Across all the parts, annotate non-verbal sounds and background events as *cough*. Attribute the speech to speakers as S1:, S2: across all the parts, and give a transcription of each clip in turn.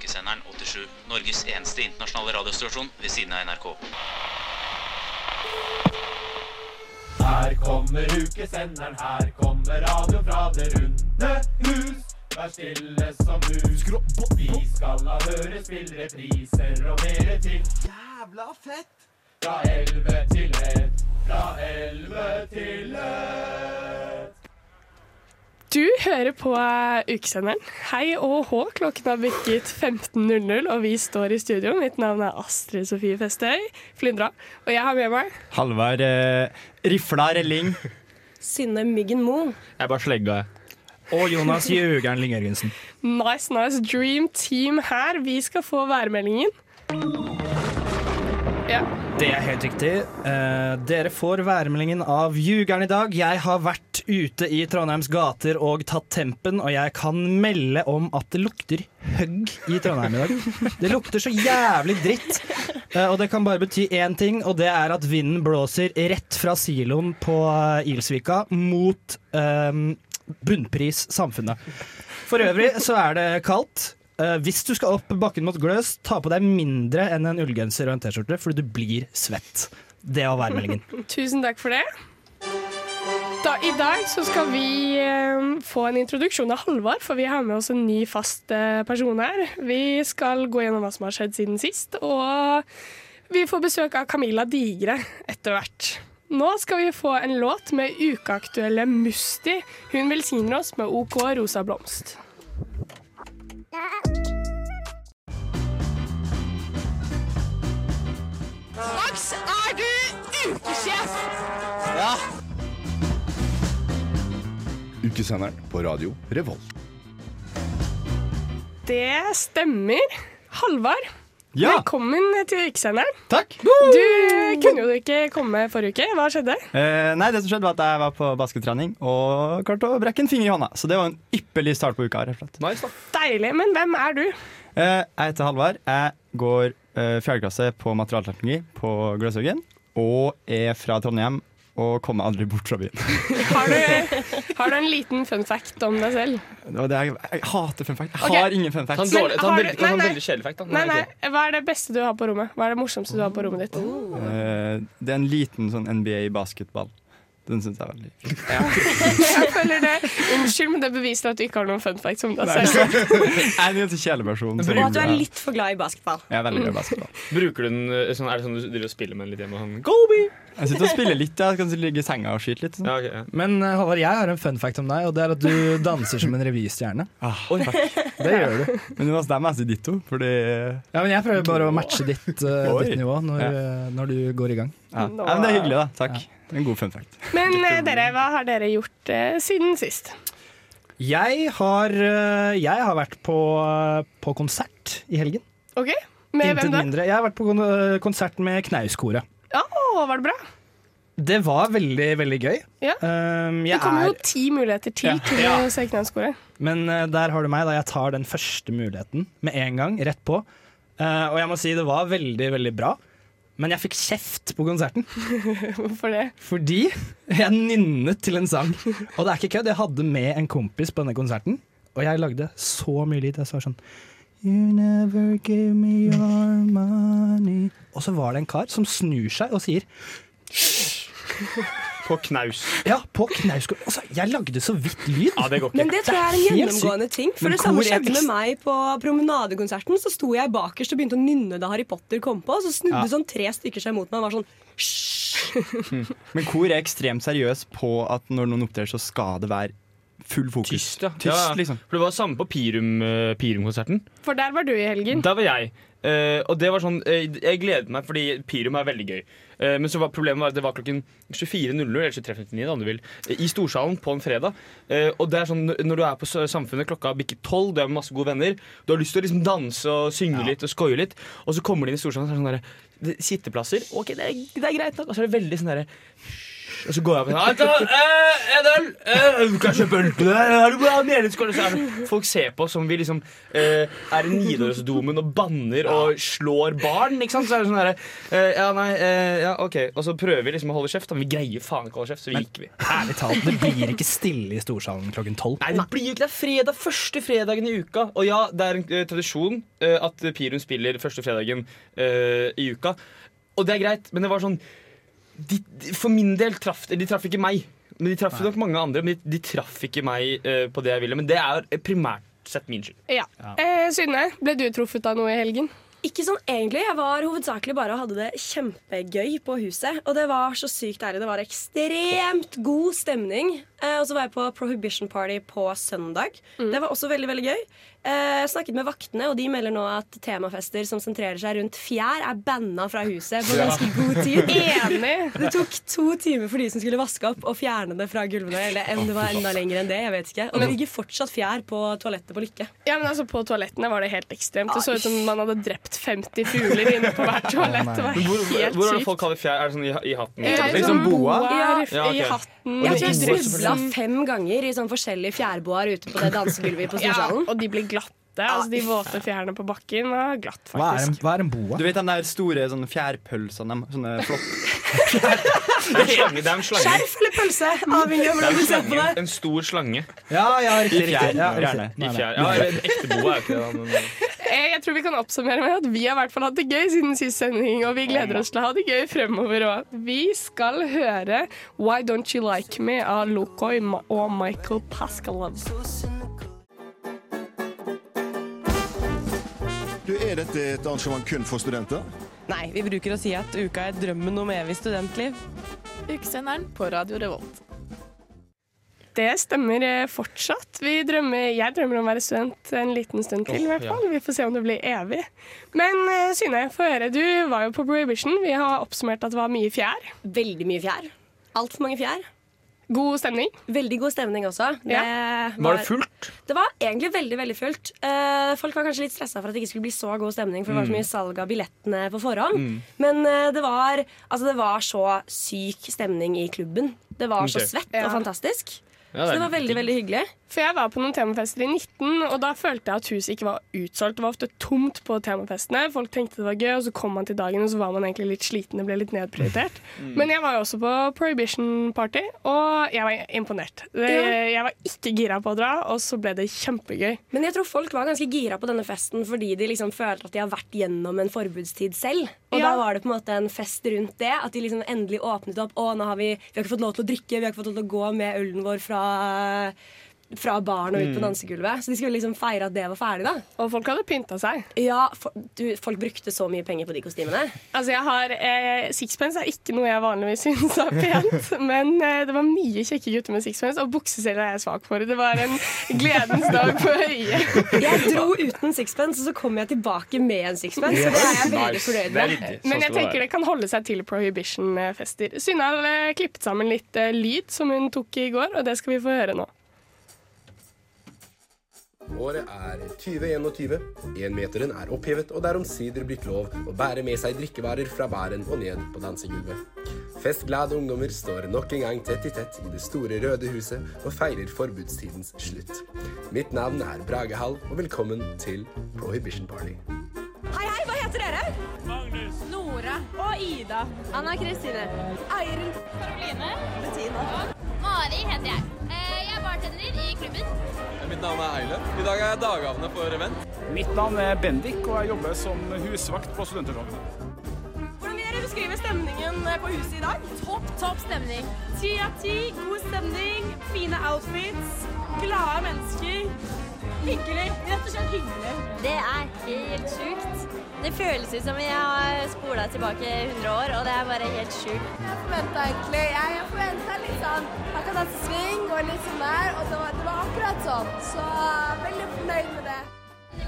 S1: Kanalen 87, Norges eneste internasjonale radiostasjon ved siden av NRK.
S2: Her kommer ukesenderen, her kommer radio fra det runde hus. Vær stille som mus. Vi skal da høre spillrepriser og mere til.
S3: Jævla fett!
S2: Fra elleve til ett. Fra elleve til ett.
S4: Du hører på ukesenderen. Hei og hå, klokken har bikket 15.00, og vi står i studio. Mitt navn er Astrid Sofie Festøy Flyndra, og jeg har med meg
S5: Halvard eh, Rifla Relling
S4: Synne Myggen Moe.
S6: Jeg bare slegga, jeg.
S5: og Jonas Jøgern Lyng-Jørgensen.
S4: Nice, nice dream team her. Vi skal få værmeldingen. Ja.
S5: Det er helt riktig. Eh, dere får værmeldingen av Jugeren i dag. Jeg har vært ute i Trondheims gater og tatt tempen, og jeg kan melde om at det lukter høgg i Trondheim i dag. Det lukter så jævlig dritt. Eh, og det kan bare bety én ting, og det er at vinden blåser rett fra siloen på eh, Ilsvika mot eh, bunnpris samfunnet. For øvrig så er det kaldt. Eh, hvis du skal opp bakken mot Gløs, ta på deg mindre enn en ullgenser og en T-skjorte, fordi du blir svett. Det var værmeldingen.
S4: Tusen takk for det. Da, I dag så skal vi eh, få en introduksjon av Halvard, for vi har med oss en ny fast eh, person her. Vi skal gå gjennom hva som har skjedd siden sist, og vi får besøk av Camilla Digre etter hvert. Nå skal vi få en låt med ukeaktuelle Musti. Hun velsigner oss med OK rosa blomst.
S7: Ukesenderen på radio Revolt.
S4: Det stemmer. Halvard,
S5: Ja,
S4: velkommen til ukesenderen.
S5: takk!
S4: Du eh, kunne jo ikke komme forrige uke. Hva skjedde?
S8: Eh, nei, det som skjedde var at jeg var på basketrening og klarte å brekke en finger i hånda. Så det var en ypperlig start på uka. rett og slett.
S6: Nice, da.
S4: Deilig. Men hvem er du?
S8: Eh, jeg heter Halvard. Jeg går eh, fjerde klasse på materialteknologi på Gløshaugen. Og er fra Trondheim og kommer aldri bort *laughs* fra byen.
S4: Har du, har du en liten fun fact om deg selv?
S8: Det var det jeg, jeg hater fun fact. Jeg
S4: Ok.
S8: har ingen fun
S6: Ta en
S8: facts.
S4: Men
S6: dårlig, ta
S4: har
S6: en
S4: du-
S6: veldig,
S4: nei,
S6: ta en
S4: nei.
S6: veldig kjedelig fact, da.
S4: Nei, nei,
S6: ok.
S4: Hva er det beste du har på rommet? Hva er det morsomste du har på rommet ditt?
S9: Oh.
S8: Eh, det er en liten sånn NBA basketball. Den syns jeg er veldig
S4: *laughs* Jeg føler det. Unnskyld, men det beviser at du ikke har noen fun facts om deg
S8: *laughs*
S4: selv.
S8: Jeg er en helt kjæleperson.
S9: Og at du er litt for glad i basketball.
S8: Jeg er veldig glad i basketball.
S6: Bruker du den eh, sånn, Er det sånn du driver og spiller med den litt hjemme? Sånn, Kobe!
S8: Jeg sitter og spiller litt. Jeg kan ligge i senga og skyte litt. Sånn.
S6: Ja, ok, ja.
S5: Men eh, Halvard, jeg har en fun fact om deg, og det er at du danser som en revystjerne.
S8: Ah, fuck.
S5: Det gjør du.
S8: Men det var dem jeg sier ditto, fordi
S5: Ja, men jeg prøver bare å matche ditt, eh,
S8: Oi.
S5: ditt nivå når,
S8: Ja.
S5: eh, når du går i gang.
S8: Ja.
S4: Nå-
S8: Ja, men det er hyggelig, da. Takk. En god fun fact.
S4: *laughs* Men eh, dere, hva har dere gjort eh, siden sist?
S5: Jeg har, eh, jeg har vært på, eh, på konsert i helgen.
S4: OK? Med
S5: Intet
S4: hvem da?
S5: mindre. Jeg har vært på kon- eh, konsert med Knauskoret.
S4: Å, var det bra?
S5: Det var veldig, veldig gøy.
S4: Ja.
S5: Um, jeg
S4: Det kommer
S5: er-
S4: jo ti muligheter til
S5: Ja.
S4: til
S5: Ja.
S4: å se Kneiskole. *laughs*
S5: Men eh, der har du meg, da jeg tar den første muligheten med en gang, rett på. Eh, og jeg må si det var veldig, veldig bra. Men jeg fikk kjeft på konserten
S4: Hvorfor det?
S5: fordi jeg nynnet til en sang. Og det er ikke kødd, jeg hadde med en kompis på denne konserten, og jeg lagde så mye lyd. Jeg var sånn You never give me your money Og så var det en kar som snur seg og sier
S6: *laughs* På knaus.
S5: Ja, på knauskål Altså, jeg lagde så vidt lyd.
S6: Ja, det går
S9: Men
S6: ikke.
S9: det tror jeg er
S5: Det
S9: en
S5: er helt
S9: gjennomgående ting. For
S5: Men
S9: det samme
S5: kor er
S9: skjedde med
S5: ekst-
S9: meg på promenadekonserten. Så sto jeg bakerst og begynte å nynne da Harry Potter kom på. Så snudde
S5: Ja.
S9: sånn tre stykker seg mot meg og var sånn Hysj!
S8: Mm. Men kor er ekstremt seriøs på at når noen opptrer, så skal det være full fokus.
S6: Tyst, ja.
S8: Tyst,
S6: Ja, ja.
S8: liksom.
S6: For det var samme på Pirum, eh, Pirum-konserten.
S4: For der var du i helgen.
S6: Der var jeg. Eh, og det var sånn eh, Jeg gledet meg, fordi Pirum er veldig gøy. Eh, men så var problemet var at det var klokken 24.00 eller 23.59 da, om du vil, eh, i Storsalen på en fredag. Eh, og det er sånn, når- når du er på s- Samfunnet, klokka bikker tolv, du er med masse gode venner, du har lyst til å liksom danse og synge litt og skoie litt, og så kommer de inn i Storsalen og så er det sånn derre det- Sitteplasser. OK, det er, det er greit nok. Og så er det veldig sånn derre Og så går jeg på sånn eh, En øl! Eh, du kan kjøpe øl til deg! Er du bra? Meningsskål!» Så er det- sånn, Folk ser på oss som vi liksom eh, er i Nidarosdomen og banner og slår barn. Ikke sant? Så er det sånn herre eh, Ja, nei, eh, ja, OK. Og så prøver vi liksom å holde kjeft, men vi greier faen ikke å holde kjeft, så vi gikk vi.
S5: Ærlig talt, det blir ikke stille i storsalen klokken tolv.
S6: Nei, det blir jo ikke det. er fredag, Første fredagen i uka. Og ja, det er en eh, tradisjon eh, at Pirun spiller første fredagen eh, i uka. Og det er greit, men det var sånn de, de, For min del traff de traff ikke meg. Men De traff nok mange andre, men de, de traff ikke meg eh, på det jeg ville. Men det er primært sett min skyld.
S4: Ja. Eh, Synne, ble du truffet av noe i helgen?
S10: Ikke sånn egentlig. Jeg var hovedsakelig bare og hadde det kjempegøy på huset. Og det var så sykt deilig. Det var ekstremt god stemning. Eh, og så var jeg på Prohibition Party på søndag.
S4: Mm.
S10: Det var også veldig veldig gøy. Eh, jeg snakket med vaktene, og de melder nå at temafester som sentrerer seg rundt fjær, er banna fra huset på ganske god tid.
S4: Enig.
S10: Det tok to timer for de som skulle vaske opp og fjerne det fra gulvene. Eller en, det var enda lenger enn det, jeg vet ikke. Og det ligger fortsatt fjær på toalettet på Lykke.
S4: Ja, men altså På toalettene var det helt ekstremt. Det så ut som man hadde drept 50 fugler inne på hvert toalett. Det var helt
S6: Hvor, hvor er det
S4: sykt.
S6: folk kaller fjær? Er det sånn i, i hatten?
S4: Ja,
S8: Liksom
S4: sånn
S8: boa?
S4: boa i-
S6: Ja, ok.
S4: I hatten.
S10: Jeg tror
S4: Og
S10: jeg
S4: de-
S10: snubla fem ganger i sånn forskjellige fjærboer ute på det dansegulvet på
S4: Ja,
S10: Storsalen.
S4: og de ble glatte. Altså, de våte fjærene på bakken var glatt,
S5: Hva er en,
S4: faktisk.
S5: hva er en boa?
S8: Du vet de der store sånne fjærpølsene? de- Sånne flotte *laughs*
S6: Det er en slange. Det er en slange.
S10: Skjerf eller pølse, avhengig av
S6: Det er
S10: hvordan du
S6: en,
S10: ser på
S6: slange.
S10: det.
S6: en stor slange
S5: Ja, ja, riktig.
S8: I
S5: riktig.
S8: fjær,
S5: Ja,
S8: gjerne.
S5: riktig. Nei,
S6: i
S5: nei.
S6: fjær. Ja, en ekte boa er ikke det. da, Men,
S4: Eh, Jeg tror vi kan oppsummere med at vi har i hvert fall hatt det gøy siden sist sending, og vi gleder oss til å ha det gøy fremover òg. Vi skal høre 'Why Don't You Like Me' av Lokoi Ma- og Michael Pascalov.
S3: er dette et arrangement kun for studenter?
S9: Nei, vi bruker å si at uka er drømmen om evig studentliv. Ukesenderen på Radio Revolt.
S4: Det stemmer eh, fortsatt. Vi drømmer, jeg drømmer om å være student en liten stund til. i hvert
S6: ja.
S4: fall. Vi får se om det blir evig. Men eh, Synne, få høre. Du var jo på Prohibition. Vi har oppsummert at det var mye fjær.
S10: Veldig mye fjær. Altfor mange fjær.
S4: God stemning.
S10: Veldig god stemning også. Det
S6: var det fullt?
S10: Det var egentlig veldig veldig fullt. Eh, folk var kanskje litt stressa for at det ikke skulle bli så god stemning, for det
S6: Mm.
S10: var så mye salg av billettene på forhånd. Men eh, det, var, altså, det var så syk stemning i klubben. Det var så
S6: Ok.
S10: svett
S4: Ja.
S10: og fantastisk.
S6: Ja,
S10: Så
S6: er
S10: det var veldig, veldig hyggelig.
S4: For jeg var på noen temafester i 19, og da følte jeg at huset ikke var utsolgt. Det var ofte tomt på temafestene. Folk tenkte det var gøy, og så kom man til dagen, og så var man egentlig litt sliten. Det ble litt nedprioritert. Men jeg var jo også på Prohibition Party, og jeg var imponert. Det, jeg var ikke gira på å dra, og så ble det kjempegøy.
S10: Men jeg tror folk var ganske gira på denne festen fordi de liksom følte at de har vært gjennom en forbudstid selv. Og
S4: Ja.
S10: da var det på en måte en fest rundt det. At de liksom endelig åpnet opp. Å, nå har vi, vi har ikke fått lov til å drikke, vi har ikke fått lov til å gå med ølen vår fra fra baren og ut på dansegulvet. Så de skulle liksom feire at det var ferdig, da.
S4: Og folk hadde pynta seg.
S10: Ja, for, du, folk brukte så mye penger på de kostymene.
S4: Altså jeg har eh, Sixpence er ikke noe jeg vanligvis syns er pent, *laughs* men eh, det var mye kjekke gutter med sixpence, og bukseseler er jeg svak for. Det var en gledens dag på øyet.
S10: *laughs* Jeg dro uten sixpence, og så kom jeg tilbake med en sixpence. Så det er jeg veldig fornøyd med.
S4: Men jeg tenker det kan holde seg til prohibition-fester. Synne har eh, klippet sammen litt eh, lyd som hun tok i går, og det skal vi få høre nå.
S11: Året er 2021. Énmeteren er opphevet, og det er omsider blitt lov å bære med seg drikkevarer fra bæren og ned på dansegulvet. Festglade ungdommer står nok en gang tett i tett i det store røde huset og feirer forbudstidens slutt. Mitt navn er Brage Hall, og velkommen til Prohibition Party.
S10: Hei, hei, hva heter dere?
S9: Nora og Ida.
S10: Anna Kristine. Eirin.
S9: Karoline. Mari heter jeg. Eh, Jeg er bartender i klubben.
S12: Mitt navn er Eile. I dag er jeg dagavne for event.
S11: Mitt navn er Bendik, og jeg jobber som husvakt på Studenterrådet.
S10: Hvordan vil dere beskrive stemningen
S7: eh,
S10: på huset i dag?
S9: Topp, topp stemning. Ti av ti, god stemning, fine outfits, glade mennesker. Hyggelig. Rett og slett hyggelig.
S10: Det er helt sjukt. Det føles ut som jeg har spola tilbake 100 år, og det er bare helt sjukt.
S9: Jeg forventa egentlig Jeg forventa litt sånn akkurat sving og litt sånn der, og det var, det var akkurat sånn. Så eh, veldig fornøyd med det.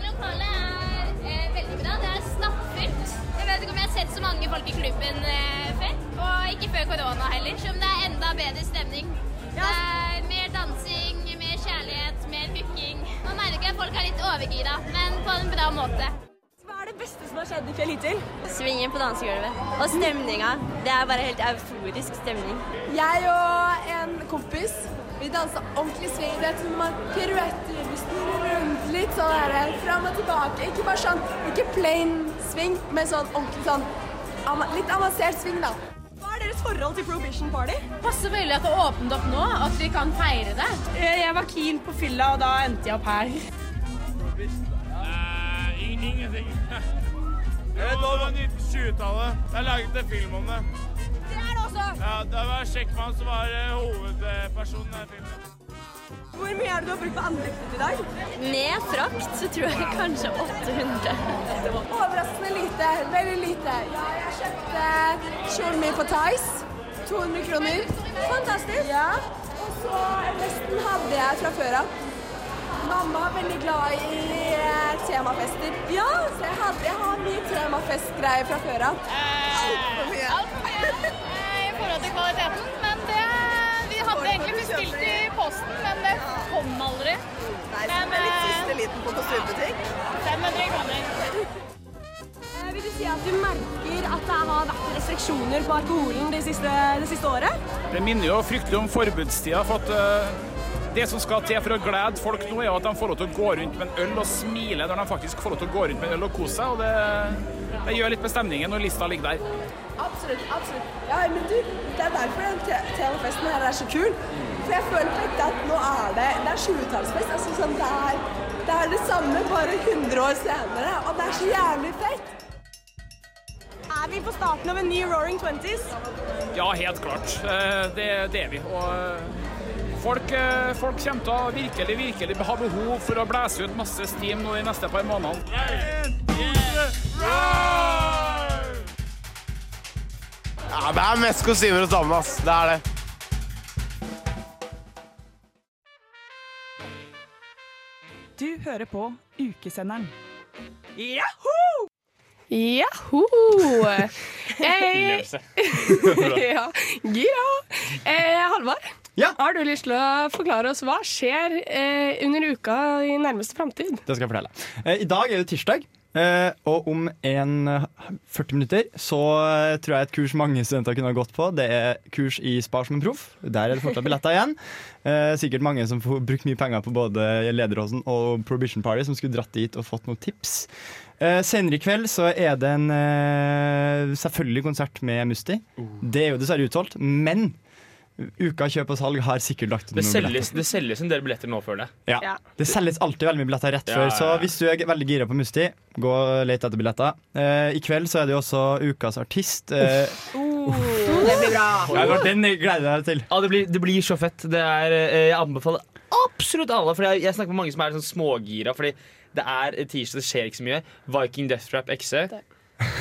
S9: Lokalet er eh, veldig bra. Det er stappfullt. Jeg vet ikke om jeg har sett så mange folk i klubben eh, før. Og ikke før korona heller, som det er enda bedre stemning. Det er mer dansing, mer kjærlighet, mer booking. Man merker at folk er litt overgira, men på en bra måte.
S10: Hva er det
S13: beste som har skjedd i fjell hittil? Svingen på dansegulvet. Og stemninga. Det er bare helt euforisk stemning.
S14: Jeg og en kompis vi dansa ordentlig sving. Det er som man piruetter, du snurrer rundt litt sånn her, fram og tilbake. Ikke bare sånn, ikke plain sving, men sånn ordentlig sånn ama- litt avansert sving, da.
S13: Hva er deres forhold til Prohibition Party?
S15: Passer veldig at det åpnet opp nå, at vi kan feire det. Eh, Jeg var keen på fylla, og da endte jeg opp her.
S12: *laughs* Ingenting. Det var 1920-tallet. Jeg laget en film om det. Det er det også! Ja, Det var Sjekkmann som var eh, hovedpersonen i den filmen.
S13: Hvor mye er det du har brukt på andektet i dag? Med frakt så tror jeg kanskje 800.
S14: Det var Overraskende lite. Veldig lite. Ja, jeg kjøpte kjolen min på Tice. 200 kroner. Fantastisk. Ja. Og så resten hadde jeg fra før av. Mamma er veldig glad i eh, temafester. Ja, så jeg, hadde, jeg har mye temafestgreier fra før av. Altfor mye.
S15: I forhold til kvaliteten, men det Vi hadde egentlig bestilt i posten, men det kom aldri. Nei, så det litt siste liten på kostymebutikk. 500 kroner.
S10: Eh,
S13: Vil du si at du merker at det har vært restriksjoner på alkoholen det siste, det siste året?
S12: Det minner jo fryktelig om forbudstida. for at eh, Det som skal til for å glede folk nå, er jo at de får lov til å gå rundt med en øl og smile når de faktisk får lov til å gå rundt med en øl og kose seg. og Det, det gjør litt med stemningen når lista ligger der.
S14: Absolutt. absolutt. Ja, men du, Det er derfor den te- temafesten her er så kul. For jeg føler på ekte at nå er det det er 20-tallsfest. Altså, sånn, det, er- det er det samme bare 100 år senere, og det er så jævlig fett.
S13: Er vi på starten av en ny Roaring Twenties?
S12: Ja, helt klart. Eh, Det, det er vi. Og eh, folk, eh, folk kommer til å virkelig, virkelig ha behov for å blæse ut masse steam nå de neste par månedene.
S16: Ja, det er mest kostymer hos damene, ass. Det er det.
S17: Du hører på Ukesenderen.
S4: Jaho!
S12: *laughs*
S17: Innlevelse.
S4: Eh, *laughs*
S13: *laughs*
S4: ja. Gira! Eh, Halvard, har du lyst til å forklare oss hva skjer eh, under uka i nærmeste framtid?
S8: Det skal jeg fortelle. Eh, I dag er det tirsdag, eh, og om en eh, 40 minutter så eh, tror jeg et kurs mange studenter kunne ha gått på. Det er kurs i Spar som en proff. Der er det fortsatt billetter igjen. Eh, Sikkert mange som får brukt mye penger på både Lederåsen og Prohibition Party, som skulle dratt dit og fått noen tips. Eh, Senere i kveld så er det en eh, selvfølgelig konsert med Musti.
S6: Uh.
S8: Det er jo dessverre utsolgt, men Uka kjøp og salg har sikkert lagt ut
S6: Det
S8: noen billetter.
S6: selges, det selges en del billetter nå, føler jeg.
S8: Ja. Det selges alltid veldig mye billetter rett
S6: Ja,
S8: før,
S6: ja,
S8: så
S6: ja.
S8: hvis du er veldig gira på Musti, gå og let etter billetter. Eh, I kveld så er det jo også ukas artist. eh,
S13: Det blir bra.
S8: Ja, det var den jeg gleder jeg meg til.
S6: Ja, det blir, det blir så fett. Det er, eh, jeg anbefaler absolutt alle. For jeg, jeg snakker med mange som er sånn smågira. Fordi det er tirsdag, det skjer ikke så mye. Viking Death Trap XE.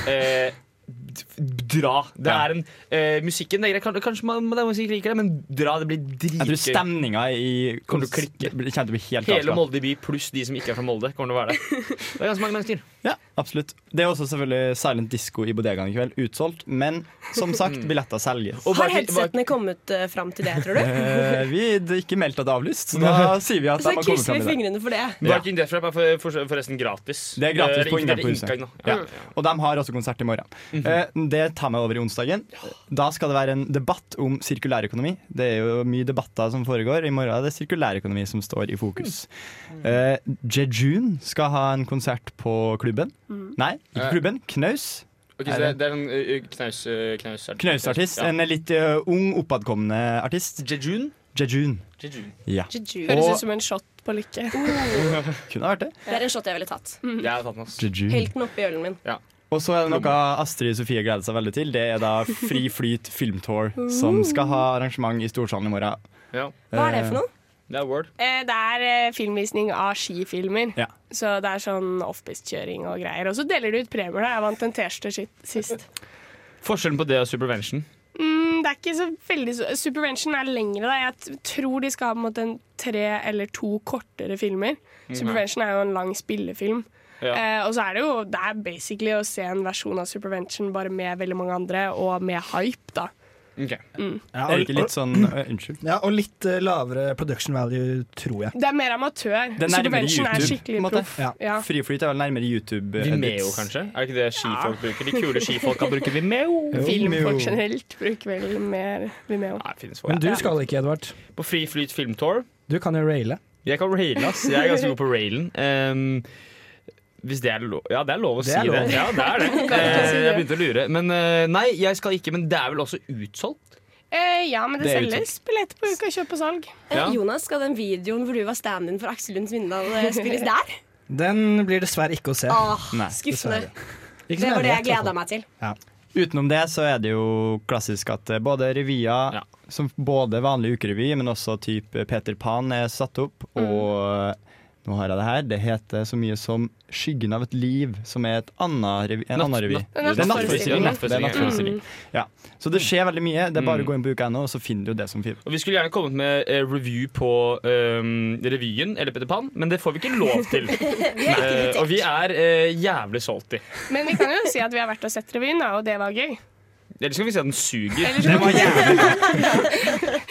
S6: Eh, d- dra. Det er en eh, Musikken det er greit. Kan- Kanskje man, man kanskje ikke liker det, men dra. Det blir dritgøy.
S8: Jeg tror stemninga i
S6: Kommer til å klikke.
S8: Det kommer til å bli helt
S6: Hele
S8: avslappet.
S6: Molde by pluss de som ikke er fra Molde, kommer til å være der. Det er ganske mange mennesker.
S8: Ja, absolutt. Det er også selvfølgelig silent disco i bodegaen i kveld. Utsolgt, men som
S6: Mm.
S8: sagt, billetter selges.
S9: Har headsetene kommet eh, fram til det, tror
S8: *laughs* Eh,
S9: du?
S8: vi det er ikke meldt at det er avlyst,
S6: *laughs*
S8: så da sier vi at de
S9: Så
S8: har kommet
S9: krysser
S8: fram
S9: vi
S8: i dag.
S9: fingrene for det.
S6: Viking Death Trap er for, for, forresten gratis.
S8: Det er gratis
S6: Eh,
S8: på
S6: det er
S8: inngang på huset.
S6: inngang, da.
S8: Ja. Og de har også konsert i morgen.
S6: Mhm.
S8: Eh, Det tar meg over i onsdagen. Da skal det være en debatt om sirkulærøkonomi. Det er jo mye debatter som foregår. I morgen er det sirkulærøkonomi som står i fokus.
S6: Mhm.
S8: Eh, Jejun skal ha en konsert på klubben.
S6: Mm.
S4: Mhm.
S8: Nei, ikke
S6: Eh.
S8: klubben. Knaus.
S6: Ok, så det, det er en eh, knaus, eh, knausartist.
S8: Knausartist.
S6: Ja.
S8: En litt eh, ung, oppadkommende artist.
S6: Jejun?
S8: Jejun.
S6: Jejun.
S8: Ja.
S4: Høres
S8: Og
S4: ut som en shot på lykke.
S8: *laughs*
S10: Oh.
S8: kunne ha vært det.
S9: Det er en shot jeg ville tatt.
S10: Mm.
S6: Jeg har tatt den, ass.
S8: Jejun.
S9: Helt den oppi ølen min.
S8: Og så er det noe Astrid Sofie gleder seg veldig til. Det er da Fri Flyt Filmtour, som skal ha arrangement i Storsalen i morgen.
S6: Ja.
S4: Hva er det for noe?
S6: Det er Word.
S4: Eh, Det er eh, filmvisning av skifilmer.
S8: Ja.
S4: Så det er sånn offpiste-kjøring og greier. Og så deler de ut premier. da. Jeg vant en T-skjorte sitt- sist.
S6: Forskjellen på det og Supervention.
S4: Mm, det er ikke så veldig så- Supervention er lengre, da. Jeg t- tror de skal ha på en måte en tre eller to kortere filmer.
S6: Mhm.
S4: Supervention er jo en lang spillefilm. Eh, og så er det jo Det er basically å se en versjon av Supervention bare med veldig mange andre, og med hype, da.
S6: Eh, Ok.
S4: Mm.
S8: Er det ikke litt sånn øh, *clears throat* Unnskyld.
S5: Ja, og litt eh, lavere production value, tror jeg.
S4: Det er mer amatør.
S8: Det er
S4: så
S8: nærmere
S4: Dimension er
S8: YouTube.
S4: skikkelig proff.
S8: Ja.
S4: Ja.
S8: Freeflyt er vel nærmere YouTube. eh,
S6: Vimeo,
S8: edits.
S6: kanskje? Er det ikke det skifolk bruker? De kule skifolka bruker Vimeo.
S4: Filmfolk generelt bruker vel mer Vimeo.
S5: Men du skal ikke, Edvard.
S6: På Fri Flyt Filmtour.
S5: Du kan jo raile.
S6: Jeg kan raile, ass. Jeg er ganske god på railen. Ehm, hvis det er lov Ja, det er lov å
S5: Det
S6: si
S5: er lov.
S6: det. Ja, det er det.
S4: *laughs* Kan ikke si
S6: Eh,
S4: det.
S6: jeg begynte å lure. Men eh, nei, jeg skal ikke. Men det er vel også utsolgt?
S4: Eh, ja, men det,
S6: Det er
S4: selges billetter på Uka kjøp og salg.
S6: Ja.
S9: Eh, Jonas, skal den videoen hvor du var stand-in for Aksel Lund Svindal, eh, spilles der?
S5: Den blir dessverre ikke å se.
S9: Åh, skuffende.
S5: dessverre.
S8: Ikke
S9: Det
S8: som
S9: var
S8: jeg vet, i
S9: det jeg
S8: hvert fall.
S9: gleda meg til.
S8: Utenom det så er det jo klassisk at eh, både revyer, som både vanlig ukerevy, men også type Peter Pan er satt opp,
S6: Mm.
S8: og eh, nå har jeg det her, det heter så mye som Skyggen av et liv, som er et annet revi, en
S6: Natt-
S8: annen revy.
S6: natt-
S8: Det er
S6: nattforestilling.
S8: nattforestilling. Det er nattforestilling.
S6: Mm.
S8: Ja. Så det skjer veldig mye. Det er bare å gå inn på uka.no, og så finner du det som finner.
S6: Og Vi skulle gjerne kommet med eh, review på ehm, revyen eller Peter Pan, men det får vi ikke
S4: *laughs*
S6: lov til. Eh, og vi er eh, jævlig salty.
S4: Men vi kan jo si at vi har vært og sett revyen, da, og det var gøy.
S6: Ellers skal vi si at den suger.
S4: Ellers Det kan var vi-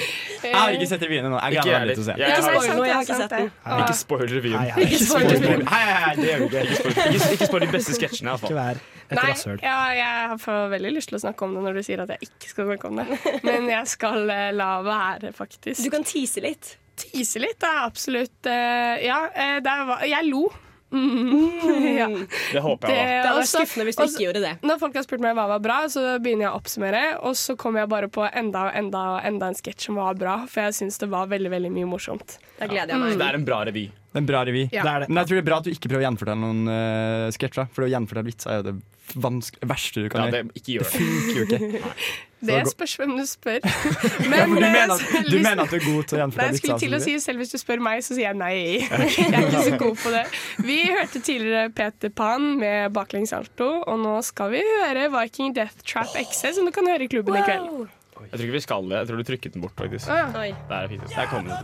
S4: Eh,
S8: Jeg har ikke sett revyene nå. Jeg
S6: Ikke
S8: gleder meg
S6: jeg
S8: veldig til å se.
S6: heller.
S4: det
S6: Jeg
S4: er
S6: har-
S4: sant, det er sant,
S9: ikke sett
S4: det.
S9: den.
S4: Ah.
S6: Ikke spoil revyen.
S4: Nei, nei, Ikke spoil spoil revyen. revyen.
S6: Hei, hei, hei, det gjør vi ikke. Ikke spoil- Ikke ikke spoil de beste sketsjene, iallfall.
S5: Ikke vær et
S4: Nei,
S5: rasshøl.
S4: ja, jeg får veldig lyst til å snakke om det når du sier at jeg ikke skal snakke om det. Men jeg skal eh, la være, faktisk.
S9: Du kan tise litt.
S4: Tise litt er absolutt eh, Ja, eh, det var Jeg lo. Mm. *laughs* ja.
S6: Det håper jeg, da.
S9: Det hadde vært
S4: også-
S9: skuffende hvis du
S4: også-
S9: ikke gjorde det.
S4: Når folk har spurt meg hva var bra, så begynner jeg å oppsummere. Og så kommer jeg bare på enda og enda og enda en sketsj som var bra, for jeg syns det var veldig veldig mye morsomt. Mm.
S9: Da
S6: Så Det er en bra revy.
S8: Det er en bra revy.
S4: Ja. Det er det.
S8: Men jeg tror det er bra at du ikke prøver å gjenfortelle noen eh, sketsjer. For å gjenfortelle vitser er jo det vanske- verste du kan
S6: Ja,
S8: gjøre.
S6: det- ikke gjør det.
S8: funker
S6: *laughs*
S8: jo ikke.
S4: *laughs* Det
S8: Så
S4: spørs hvem du spør.
S8: *laughs* Ja,
S4: Men,
S8: for du,
S4: eh,
S8: mener at,
S4: selv
S8: du
S4: hvis-
S8: mener at du er god til å
S4: Nei,
S8: gjenfortelle
S4: jeg skulle til å si
S8: vitser?
S4: Selv hvis du spør meg, så sier jeg
S8: *laughs*
S4: nei. *laughs* Jeg er ikke så god på det. Vi hørte tidligere Peter Pan med baklengs salto, og nå skal vi høre Viking Death Trap XC, som du kan høre i klubben i kveld.
S6: Jeg tror ikke vi skal det. Jeg tror du trykket den bort, faktisk.
S4: Å, ja.
S6: Der
S4: Oi.
S6: er fint. Der kom den.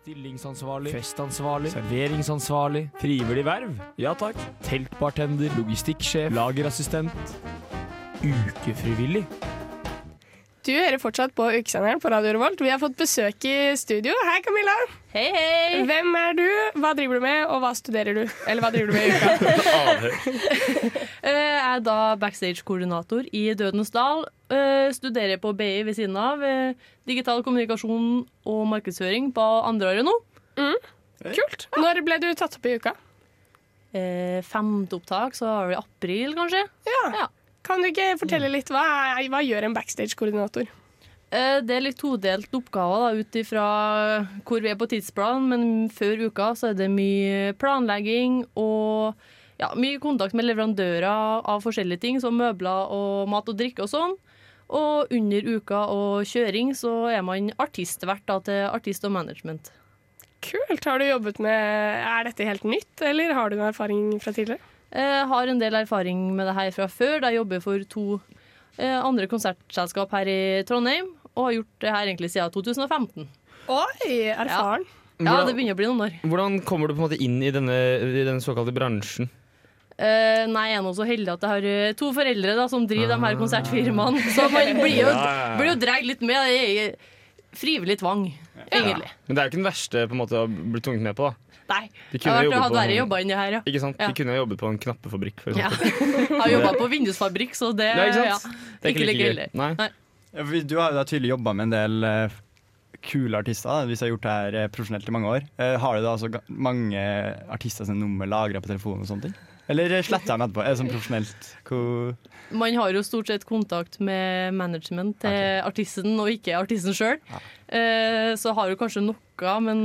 S18: Stillingsansvarlig, festansvarlig, serveringsansvarlig, frivillig verv. Ja takk. Teltbartender, logistikksjef, lagerassistent. Ukefrivillig.
S4: Du hører fortsatt på ukesenderen på Radio Revolt. Vi har fått besøk i studio. Hei, Camilla. Hei, hei. Hvem er du, hva driver du med, og hva studerer du? Eller hva driver du med i
S19: *laughs*
S4: uka?
S19: Eh, Jeg er da backstage-koordinator i Dødens Dal. eh, Studerer på BI ved siden av. eh, Digital kommunikasjon og markedsføring på andreåret nå.
S4: Mm. Kult. Når ble du tatt opp i uka?
S19: Eh, Femte opptak, så har vi april, kanskje.
S4: Ja. Kan du ikke fortelle litt hva, hva gjør en backstage-koordinator?
S19: Eh, Det er litt todelt oppgaver da, ut ifra hvor vi er på tidsplanen, men før uka så er det mye planlegging og ja, mye kontakt med leverandører av forskjellige ting, som møbler og mat og drikke og sånn. Og under uka og kjøring så er man artistvert da, til artist og management.
S4: Kult. Har du jobbet med Er dette helt nytt, eller har du noe erfaring fra tidligere?
S19: Jeg Eh, har en del erfaring med det her fra før, da jeg jobber for to eh, andre konsertselskap her i Trondheim, og har gjort det her egentlig siden 2015.
S4: Oi, erfaren.
S19: Ja, det begynner å bli noen år.
S6: Hvordan kommer du på en måte inn i denne, i denne såkalte bransjen?
S19: Eh, nei, jeg er nå så heldig at jeg har eh, to foreldre da, som driver de her konsertfirmaene. Så man blir jo,
S6: Ah. Ja.
S19: blir jo dreg litt med. Det er frivillig tvang, egentlig.
S6: Men det er jo ikke den verste på en måte, å bli tvunget med på. da
S19: Nei.
S6: De
S19: Jeg har vært
S6: kunne
S19: og hatt
S6: jobbet på
S19: verre
S6: sånn-
S19: jobber enn det her, ja.
S6: Ikke sant?
S19: Ja.
S6: De kunne jo jobbet på en knappefabrikk. For
S19: ja.
S6: eksempel.
S19: Jeg har jobba på vindusfabrikk, så det
S6: Ja, ikke sant?
S19: ja.
S6: Det er ikke like gøy.
S19: heller.
S6: Nei.
S8: Ja, for Du har jo da tydelig jobba med en del eh, kule artister, da, hvis jeg har gjort det her eh, profesjonelt i mange år. Eh, har du da altså ga- mange artister sine nummer lagra på telefonen og sånne ting? Eller sletter jeg dem etterpå? Er det sånn profesjonelt? Hvor
S19: Man har jo stort sett kontakt med management til artisten, og ikke artisten sjøl. så har du kanskje noe, men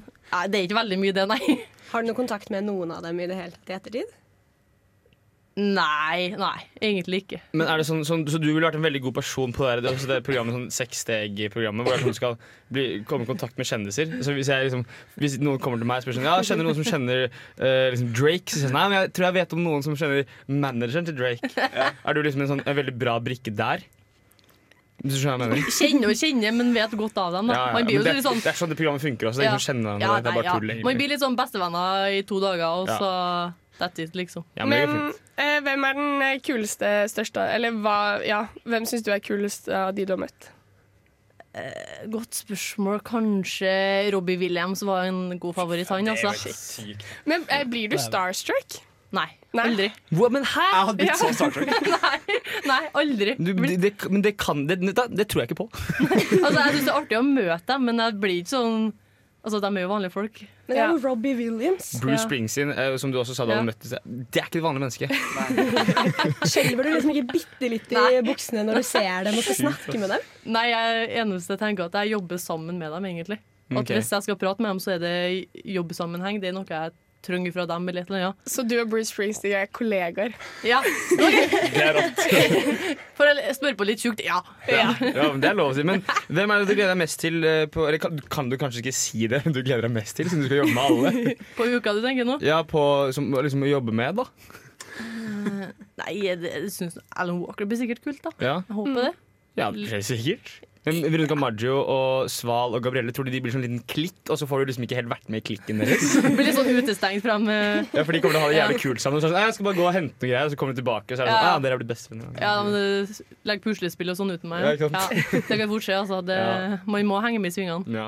S19: nei, det er ikke veldig mye, det, nei. *laughs*
S9: *laughs* Har du noe kontakt med noen av dem i det hele tatt i ettertid?
S19: Nei, nei, egentlig ikke.
S6: *laughs* Men er det sånn, sånn, Så du ville vært en veldig god person på det, her, det, er også det programmet, sånn sekssteg-programmet, hvor det er sånn du skal bli, komme i kontakt med kjendiser. Så Hvis, jeg, liksom, hvis noen kommer til meg og spør sånn, ja, kjenner du noen som kjenner eh, liksom Drake, så sier jeg sånn, nei, men jeg tror jeg vet om noen som kjenner manageren til
S19: *laughs*
S6: Drake. Er du liksom en, sånn, en veldig bra brikke der? Hvis du skjønner hva jeg mener?
S19: Kjenner og kjenner, men vet godt av dem. Da.
S6: Ja, ja,
S19: Man blir
S6: men
S19: jo
S6: det,
S19: litt sånn
S6: det er sånn det programmet funker også. Det er ingen som kjenner hverandre.
S19: Ja,
S6: det er
S19: nei,
S6: bare
S19: ja.
S6: tull. egentlig.
S19: Man blir litt sånn bestevenner i to dager, og
S6: Ja.
S19: så That's it, liksom.
S6: Ja, men det
S4: men
S6: går fint.
S4: eh, hvem er den eh, kuleste, største Eller hva, ja, hvem syns du er kulest av de du har møtt?
S19: Eh, Godt spørsmål. Kanskje Robbie Williams var en god favoritt, han,
S4: Det er jo
S19: altså.
S4: helt Men eh, blir du starstruck?
S19: Nei. Aldri.
S6: men hæ?! Jeg hadde blitt så *laughs* starstruck.
S19: Nei, nei, aldri.
S6: Du, det, det, men det kan det, det, det tror jeg ikke på.
S19: *laughs* Altså, jeg syns det er artig å møte dem, men jeg blir ikke sånn Altså, de er jo vanlige folk.
S9: Men det er jo Robbie Williams.
S6: Bruce Springsteen, eh, som du også sa
S19: Ja.
S6: da du møtte Det er ikke et vanlig menneske.
S9: Skjelver du liksom ikke bitte litt i buksene når du ser dem og skal snakke med dem?
S19: Nei, jeg eneste jeg tenker at jeg jobber sammen med dem, egentlig. At
S9: Ok.
S19: Hvis jeg skal prate med dem, så er det jobbsammenheng. Det er noe jeg trenger fra dem. eller et eller annet.
S4: Så du og Bruce Springsteen er kollegaer?
S19: Ja.
S6: Det er rått.
S19: For å spørre på litt tjukt ja.
S6: Ja. *laughs* Ja, men det er lov å si. Men hvem er det du gleder deg mest til eh, på Eller kan, kan du kanskje ikke si det du gleder deg mest til, siden du skal jobbe med *laughs* alle?
S19: *laughs* På uka du tenker nå?
S6: Ja, på, som, liksom å jobbe med, da.
S19: Eh, Nei, det, jeg synes Alan Walker blir sikkert kult, da.
S6: Ja,
S19: Jeg håper det.
S6: ja det er sikkert. Men Veronica Maggio og Sval og Gabrielle, tror du de blir sånn liten klitt, og så får du liksom ikke helt vært med i klikken *laughs* deres?
S19: Blir litt sånn utestengt fram. eh.
S6: Ja, For de kommer til å ha det jævlig
S19: Ja.
S6: kult sammen. Så er det sånn, «Nei, jeg skal bare gå og hente noe greier, og så kommer de tilbake, og så er det sånn,
S19: Ja.
S6: ah, dere er blitt bestevenner.
S19: *laughs* Ja, men eh, Legg puslespill og sånn uten meg.
S6: Ja, ikke sant?
S19: det kan fort skje, altså.
S6: *laughs*
S19: Det,
S5: Ja.
S19: Man må henge med i svingene.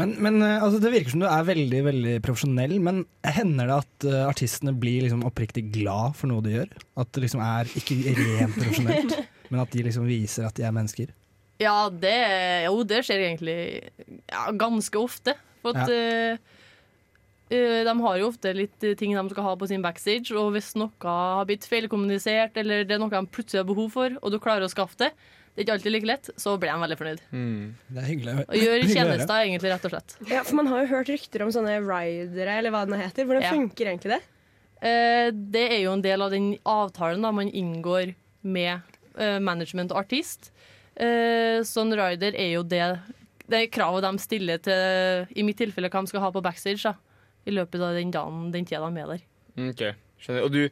S5: Men, men eh, altså, det virker som du er veldig veldig profesjonell, men hender det at eh, artistene blir liksom oppriktig glad for noe de gjør? At det liksom er ikke rent profesjonelt,
S6: *laughs*
S5: men at de liksom viser at de er mennesker?
S19: Ja, det, jo, det skjer egentlig ja, ganske ofte. For at
S5: Ja.
S19: eh, eh, de har jo ofte litt eh, ting de skal ha på sin backstage, og hvis noe har blitt feilkommunisert, eller det er noe de plutselig har behov for, og du klarer å skaffe det, det er ikke alltid like lett, så blir de veldig fornøyd.
S5: Det er hyggelig.
S19: Og gjør tjenester, egentlig, rett og slett.
S9: Ja, for man har jo hørt rykter om sånne ridere, eller hva det nå heter. Hvordan
S19: Ja.
S9: funker egentlig det?
S19: Eh, det er jo en del av den avtalen da, man inngår med eh, management og artist. Eh, så en rider er jo det, det er kravet de stiller til, i mitt tilfelle, hva de skal ha på backstage da, i løpet av den, dagen, den tida de er
S6: *laughs*
S19: der.
S6: Mm, Ok, skjønner Og du,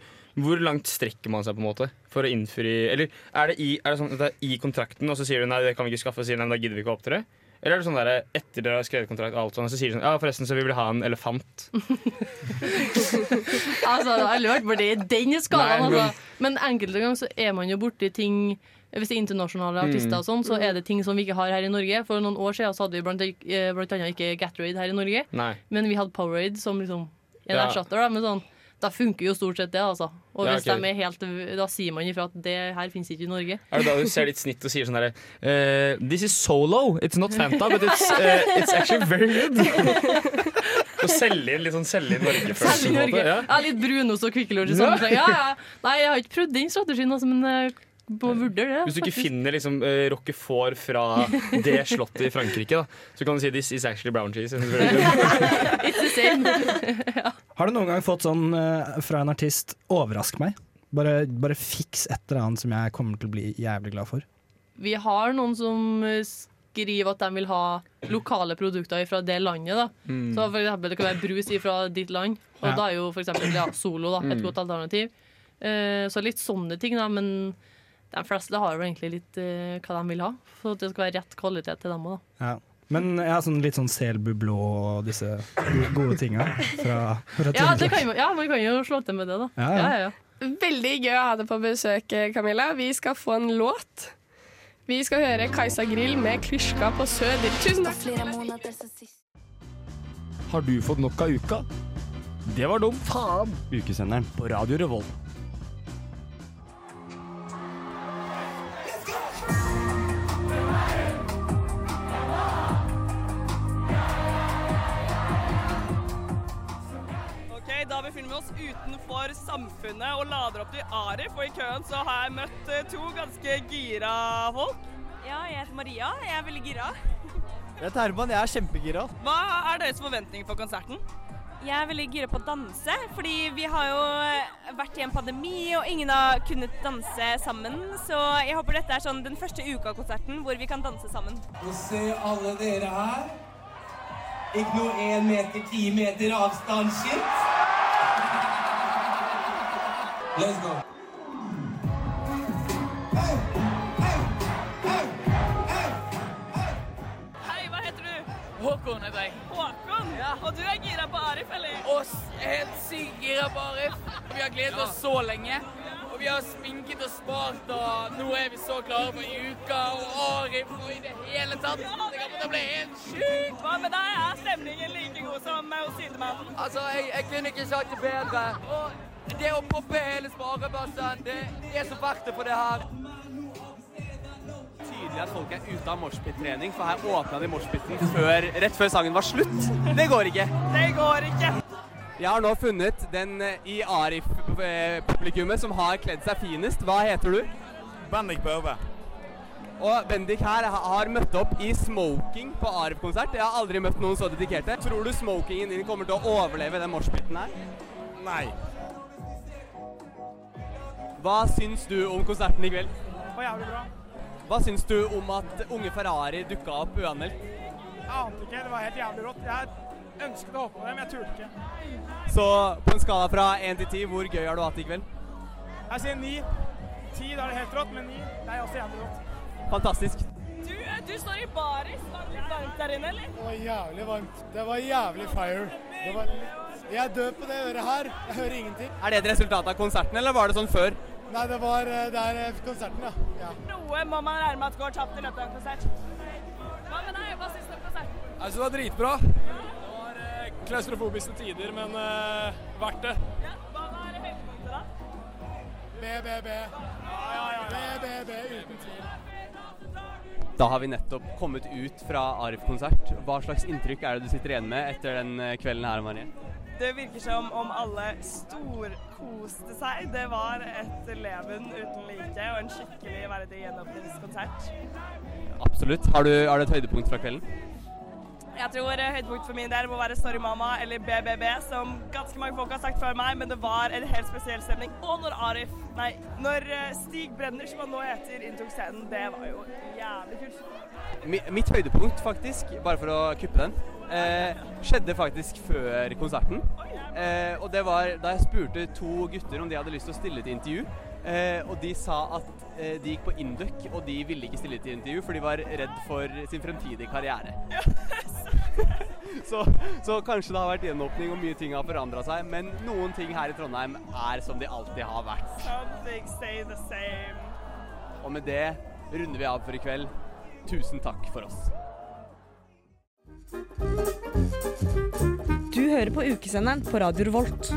S6: hvor langt strekker man seg på en måte for å innfri Eller er det i, er det sånn at det er i kontrakten, og så sier du nei, det kan vi ikke skaffe, og sier nei, men da gidder vi ikke å opptre? Eller er det sånn der, etter dere har skrevet kontrakt, og alt sånn, så sier de sånn ja, forresten, så vi vil ha en elefant.
S19: Altså, jeg lurte på det i den skalaen,
S6: Nei, men-
S19: altså. Men enkelte ganger så er man jo borti ting hvis det er internasjonale
S6: Mm.
S19: artister, og sånn, så er det ting som vi ikke har her i Norge. For noen år siden så hadde vi blant, eh, blant annet ikke Gatorade her i Norge.
S6: Nei.
S19: Men vi hadde Powerade som liksom en
S6: Ja.
S19: erstatter. Da, men sånn, da funker jo stort sett det, altså. Og
S6: Ja,
S19: hvis
S6: ok.
S19: de er helt, da sier man ifra at det her finnes ikke i Norge.
S6: Er det da
S19: *laughs*
S6: du ser ditt snitt og sier sånn derre eh, This is solo. It's not Fanta, but it's, eh, it's actually very good. *laughs* Og selge inn litt sånn selge
S19: Selv
S6: inn
S19: i
S6: Norge-følelse. på en
S19: Norge.
S6: måte,
S19: Ja.
S6: Ja.
S19: litt brunost og Kvikk Lunsj i
S6: Ja. *laughs*
S19: sånn. Ja, ja. Nei, jeg har ikke prøvd den strategien, altså, men eh, må vurdere det.
S6: Hvis du ikke
S19: faktisk.
S6: finner liksom, eh, roquefort fra det slottet i Frankrike, da, så kan du si 'this is actually brown cheese'. It's very
S10: *laughs*
S6: good.
S19: It's the same.
S5: Har du noen gang fått sånn eh, fra en artist 'overrask meg'? Bare, bare fiks et eller annet som jeg kommer til å bli jævlig glad for.
S19: Vi har noen som eh, skriver at de vil ha lokale produkter fra det landet. Da.
S5: Mm.
S19: Så for eksempel, det kan være brus fra ditt land, og
S5: Ja.
S19: da er jo for eksempel ja, Solo da, et
S5: Mm.
S19: godt alternativ. Eh, så litt sånne ting, da, men de fleste har jo egentlig litt eh, hva de vil ha. Så det skal være rett kvalitet til dem òg, da.
S5: Ja. Men jeg har sånn litt sånn Selbu blå og disse gode tinga fra, fra
S19: Ja, det
S5: Trøndelag.
S19: kan, jo- ja, man kan jo slå til med det, da.
S5: Ja, ja.
S4: Veldig gøy å ha deg på besøk, eh, Camilla. Vi skal få en låt. Vi skal høre Kajsa Grill med 'Klisjka på Søder'. Tusen takk!
S18: Har du fått nok av uka? Det var dumt. Faen!
S8: Ukesenderen.
S18: På Radio Revolt.
S20: Ok, Da befinner vi oss utenfor Samfunnet og lader opp til Arif. Og i køen så har jeg møtt eh, to ganske gira folk. Ja, jeg heter Maria. Jeg er veldig gira.
S8: Jeg heter Herman, jeg er kjempegira.
S20: Hva er deres forventninger for konserten?
S21: Jeg er veldig gira på å danse, fordi vi har jo eh, vært i en pandemi og ingen har kunnet danse sammen. Så jeg håper dette er sånn den første uka av konserten hvor vi kan danse sammen.
S22: Å se alle dere her. Ikke noe én meter, ti meter avstand, shit. Let's go.
S20: Hei, hva heter du?
S1: Håkon heter jeg.
S20: Håkon, og du er gira på Arif, eller?
S1: Oss er helt sykt gira på Arif. Vi har gledet oss så lenge. Og vi har sminket og spart, og nå er vi så klare for uka og Arif og i det hele tatt. Det kommer til å bli helt sjukt.
S20: Hva med deg? Er stemningen like god som eh, hos sidemannen?
S1: Altså, jeg, jeg kunne ikke sagt det bedre. Og det å poppe hele sparebøssen, det, det er så verdt det for det her.
S23: tydelig at folk er ute av moshpit-trening, for her åpna de moshpiten før, rett før sangen var slutt. Det går ikke.
S20: Det går ikke.
S23: Jeg har nå funnet den eh, i Arif-publikummet som har kledd seg finest. Hva heter du? Bendik Børve. Og Bendik her ha- har møtt opp i smoking på Arif-konsert. Jeg har aldri møtt noen så dedikerte. Tror du smokingen din kommer til å overleve den moshpiten her? Nei. Hva syns du om konserten i kveld? Var jævlig bra. Hva syns du om at unge Ferrari dukka opp uanmeldt? Jeg ante ikke, det var helt jævlig rått. Jeg ønsket å hoppe på det, men jeg turte ikke. Så på en skala fra 1 til 10, hvor gøy har du hatt i kveld? Jeg sier 9. 10, da er det helt rått, men 9, det er også jævlig rått. Fantastisk.
S20: Du, eh, du står i baris. Var det litt varmt der inne, eller?
S24: Det var jævlig varmt. Det var jævlig fire. Det var litt... Jeg dør på det øret her. Jeg hører ingenting.
S23: Er det et resultat av konserten, eller var det sånn før?
S24: Nei, det var eh, Det er eh, konserten, ja. ja.
S20: Noe må man regne med at går tapt i løpet av en konsert. Hva med deg? Hva syns du om konserten?
S23: Jeg syns det var dritbra.
S18: Klaustrofobiske tider, men verdt det.
S20: Hva var høydepunktet, da?
S24: BBB. BBB uten tvil.
S23: Da har vi nettopp kommet ut fra Arif-konsert. Hva slags inntrykk er det du sitter igjen med etter den eh, kvelden her, Marie?
S20: Det virker som om alle storkoste seg. Det var et leven uten like og en skikkelig verdig gjenåpningskonsert.
S23: Absolutt. Har du, har du et høydepunkt fra kvelden?
S20: Jeg tror eh, høydepunkt for min del må være Sorry Mama eller BBB, som ganske mange folk har sagt før meg, men det var en helt spesiell stemning. Og når Arif, nei, når eh, Stig Brenner, som han nå heter, inntok scenen, det var jo jævlig kult.
S23: Mi, mitt høydepunkt, faktisk, bare for å kuppe den, eh, skjedde faktisk før konserten. Eh, og det var da jeg spurte to gutter om de hadde lyst til å stille til intervju. Eh, og de sa at eh, de gikk på Induc, og de ville ikke stille til intervju, for de var redd for sin fremtidige karriere. *laughs* så, så kanskje det har vært gjenåpning, og mye ting har forandra seg. Men noen ting her i Trondheim er som de alltid har vært.
S20: Some things stay the same.
S23: Og med det runder vi av for i kveld. Tusen takk for oss.
S25: Du hører på ukesenderen på Radio Revolt.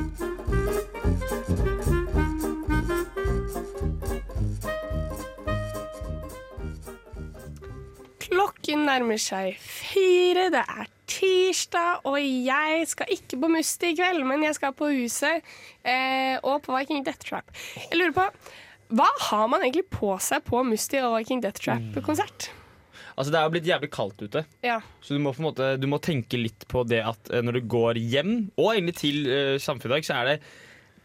S4: Klokken nærmer seg fire, det er tirsdag, og jeg skal ikke på Musti i kveld, men jeg skal på Huset eh, og på Viking Death Trap. Jeg lurer på, hva har man egentlig på seg på Musti og Viking Death Trap-konsert?
S6: Altså, det er jo blitt jævlig kaldt ute.
S4: Ja.
S6: Så du må, på en måte, du må tenke litt på det at eh, når du går hjem, og egentlig til eh, samfunnet i dag, så er det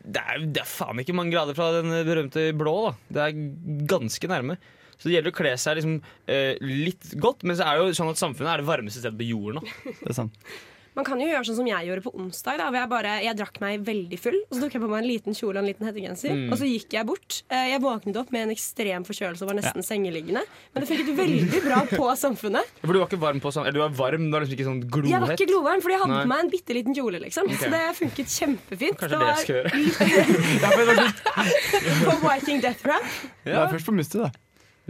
S6: det er, det er faen ikke mange grader fra den berømte blå. da Det er ganske nærme. Så det gjelder å kle seg liksom, eh, litt godt, men så er det jo sånn at samfunnet er det varmeste stedet på jorden nå.
S8: *laughs* Det er sant.
S10: Man kan jo gjøre sånn som jeg gjorde på onsdag. Da, hvor jeg, bare, jeg drakk meg veldig full, og så tok jeg på meg en liten kjole og en liten hettegenser.
S8: Mm.
S10: Og så gikk jeg bort. Eh, Jeg våknet opp med en ekstrem forkjølelse og var nesten sengeliggende. Men det funket veldig bra
S6: *laughs*
S10: på samfunnet.
S6: For du var ikke varm på sånn Eller du var varm, du var liksom ikke sånn glohett.
S10: Jeg var ikke glovarm, fordi jeg hadde
S6: Nei.
S10: på meg en bitte liten kjole, liksom.
S6: Ok.
S10: Så det funket kjempefint.
S6: Kanskje det jeg skal gjøre.
S10: det var *laughs* på Viking Death Rap.
S6: Ja.
S8: Det er først på Musti, da.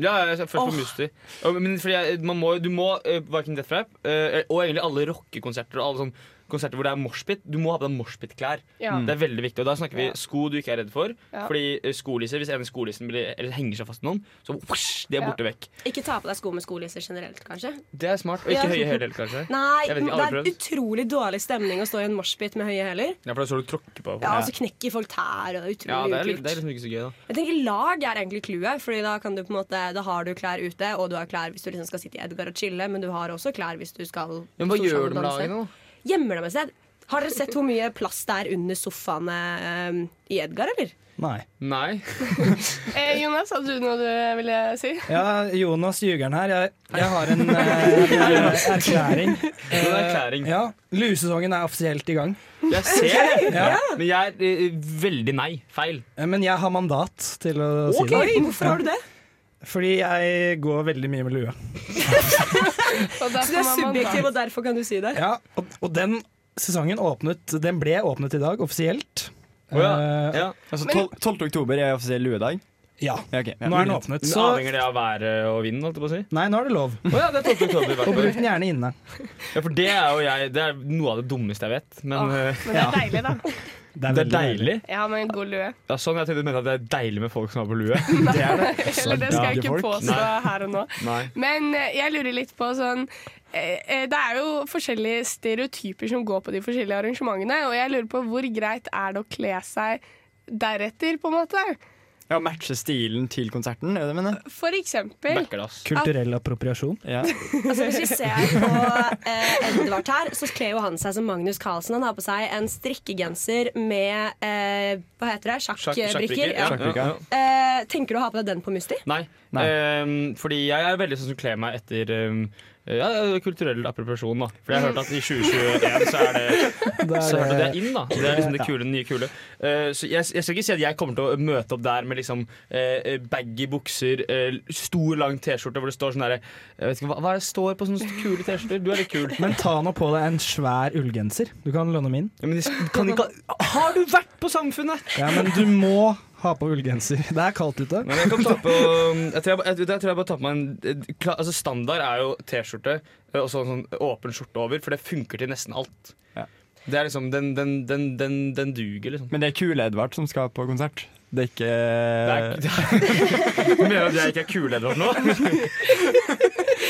S6: Ja, jeg er først på
S10: Åh.
S6: Musti. Og- Men fordi jeg, man må, du må eh, Viking Death Rap eh, og egentlig alle rockekonserter og alle sånne konserter hvor det er moshpit, du må ha på deg moshpit-klær.
S26: Ja.
S6: Det er veldig viktig. Og da snakker vi
S26: Ja.
S6: sko du ikke er redd for.
S10: Ja.
S6: Fordi eh, skolisser, hvis en skolissen blir, eller henger seg fast i noen, så whoosh, de er borte vekk.
S10: Ikke ta på deg sko med skolisser generelt, kanskje.
S6: Det er smart. Og ikke
S10: Ja.
S6: høye hæler, kanskje.
S10: Nei,
S6: jeg vet ikke,
S10: det
S6: alle
S10: er
S6: prøvd.
S10: utrolig dårlig stemning å stå i en moshpit med høye hæler.
S6: Ja, for det er så du tråkker på.
S10: Ja, og så knekker folk tær, og det er utrolig
S6: ja det, er,
S10: ukult.
S6: litt- det er liksom ikke så gøy, da.
S10: Jeg tenker Lag er egentlig clouet, Fordi da, kan du på en måte, da har du klær ute, og du har klær hvis du liksom skal sitte i Edgar og chille, men du har også klær hvis du skal
S6: Men hva
S10: på
S6: gjør du med
S10: danse.
S6: lagene, da?
S10: Gjemmer dem et sted. Har dere sett hvor mye plass det er under sofaene eh, i Edgar, eller?
S5: Nei.
S6: Nei.
S4: Eh, Jonas, hadde du noe du ville eh, si?
S5: Ja, Jonas Ljugeren her. Jeg, jeg har
S6: *laughs*
S5: en eh, erklæring. Eh,
S6: En erklæring.
S5: Ja, Lusesongen er offisielt i gang.
S6: Jeg ser det,
S5: Ja.
S6: men jeg er eh, veldig nei. Feil.
S5: Eh, Men jeg har mandat til å si det.
S6: Ok, hvorfor har du
S5: det? Fordi jeg går veldig mye med lue.
S10: Så du er subjektiv, og derfor kan du si det?
S5: Ja, og, og den sesongen åpnet Den ble åpnet i dag, offisielt.
S8: Å ja,
S5: Eh,
S8: ja. Altså, tol- 12. oktober er offisiell luedag?
S5: Ja.
S8: ok.
S5: Nå er den åpnet,
S6: Men
S5: så-
S6: Avhenger det av været og vinden? holdt jeg på å si?
S5: Nei, nå er det lov.
S6: Å ja, det er 12. oktober. i hvert
S5: Og bruk den
S6: fall.
S5: gjerne inne.
S6: Ja, for det er jo jeg Det er noe av det dummeste jeg vet. Men, eh, ja.
S4: deilig, da.
S6: det er, deilig.
S4: *laughs* Ja, med en god lue.
S6: Ja, sånn jeg tenkte du mente at det er deilig med folk som har
S4: *laughs*
S6: på lue.
S4: Det er det. Eller det skal jeg ikke påstå
S6: Nei.
S4: her og nå.
S6: Nei.
S4: Men eh, jeg lurer litt på sånn eh, eh, Det er jo forskjellige stereotyper som går på de forskjellige arrangementene, og jeg lurer på hvor greit er det å kle seg deretter, på en måte?
S8: Ja, Matche stilen til konserten, er det det du mener?
S4: For eksempel
S5: Kulturell appropriasjon.
S8: Ja.
S10: Altså, hvis vi ser på eh, Edvard her, så kler jo han seg som Magnus Carlsen. Han har på seg en strikkegenser med eh, hva heter det?
S6: Sjakk-
S10: sjakkbrikker.
S6: sjakkbrikker, ja. Sjakkbrikker, ja.
S10: Eh, tenker du å ha på deg den på Musti?
S6: Nei. Ehm, fordi jeg er veldig sånn som kler meg etter ehm, ja, kulturell appropriasjon. da For jeg har hørt at i 2021 så er det *laughs*
S5: Det er
S6: Så hørte det
S5: det.
S6: inn, da. Det er liksom det
S5: Ja.
S6: kule, nye kule. Eh, så jeg, jeg skal ikke si at jeg kommer til å møte opp der med liksom eh, baggy bukser, eh, stor, lang T-skjorte hvor det står sånn derre Jeg vet ikke hva, hva er det står på sånne kule T-skjorter? Du er litt kul.
S5: Men ta nå på deg en svær ullgenser. Du kan låne min.
S6: Ja, men de kan ikke Har du vært på Samfunnet?
S5: Ja, men du må ha på ullgenser. Det er kaldt ute.
S6: Men jeg, kan ta på, jeg, tror jeg, jeg, jeg tror jeg bare tar på meg en eh, kla- altså Standard er jo T-skjorte eh, og sånn, sånn åpen skjorte over, for det funker til nesten alt. Det er liksom, Den, den, den, den, den duger, liksom.
S8: Men det er kule Edvard som skal på konsert. Det er ikke *laughs*
S6: Mener du at jeg ikke er kuleder nå?